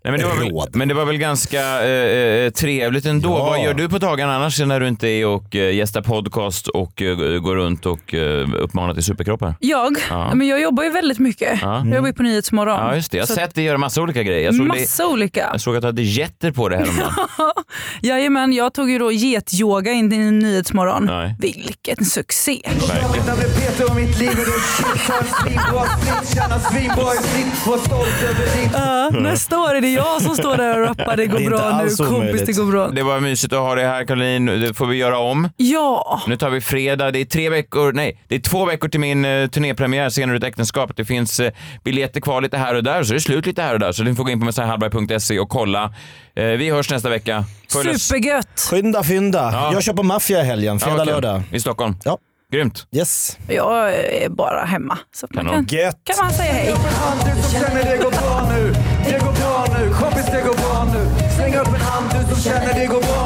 Speaker 1: Nej, men, det var väl, men det var väl ganska eh, eh, trevligt ändå.
Speaker 6: Ja.
Speaker 1: Vad gör du på dagarna annars när du inte är och eh, gästar podcast och eh, går runt och eh, uppmanar till superkroppar?
Speaker 5: Jag?
Speaker 1: Ja.
Speaker 5: Men jag jobbar ju väldigt mycket.
Speaker 1: Ja.
Speaker 5: Jag jobbar ju på Nyhetsmorgon.
Speaker 1: Ja, just det. Jag
Speaker 5: Så
Speaker 1: har
Speaker 5: att-
Speaker 1: sett dig göra massa olika grejer. Jag såg,
Speaker 5: Massa
Speaker 1: dig,
Speaker 5: olika.
Speaker 1: jag såg att du hade getter på det häromdagen.
Speaker 5: Jajamän, jag tog ju då getyoga in i Nyhetsmorgon.
Speaker 1: Nej.
Speaker 5: Vilken succé.
Speaker 1: Verkligen.
Speaker 15: Jag blev Peter om mitt liv och du shit har en svinbra split, tjänar svinbra i snitt, var stolt över ditt.
Speaker 5: Ja, nästa år är det jag som står där och rappar det går bra nu kompis, det går bra.
Speaker 1: Det var mysigt att ha dig här Caroline. Det får vi göra om.
Speaker 5: Ja,
Speaker 1: Nu tar vi fredag. Det är tre veckor, nej, det är två veckor till min eh, turnépremiär Senare ut äktenskapet. Det finns eh, biljetter kvar lite här och där, så är det slut lite här och där. Så ni får gå in på messiahallberg.se och kolla. Eh, vi hörs nästa vecka. Följ oss.
Speaker 5: supergött.
Speaker 6: Skynda fynda. Jag kör på Mafia i helgen, fredag,
Speaker 1: Ja, okej.
Speaker 6: lördag.
Speaker 1: I Stockholm.
Speaker 6: Ja.
Speaker 1: Grymt.
Speaker 6: Yes.
Speaker 5: Jag är bara hemma. Så man
Speaker 1: Kanon.
Speaker 5: kan, kan man säga hej.
Speaker 15: Du som känner det går bra nu, det går bra nu, kompis det går bra nu. Släng upp en hand du som känner det går bra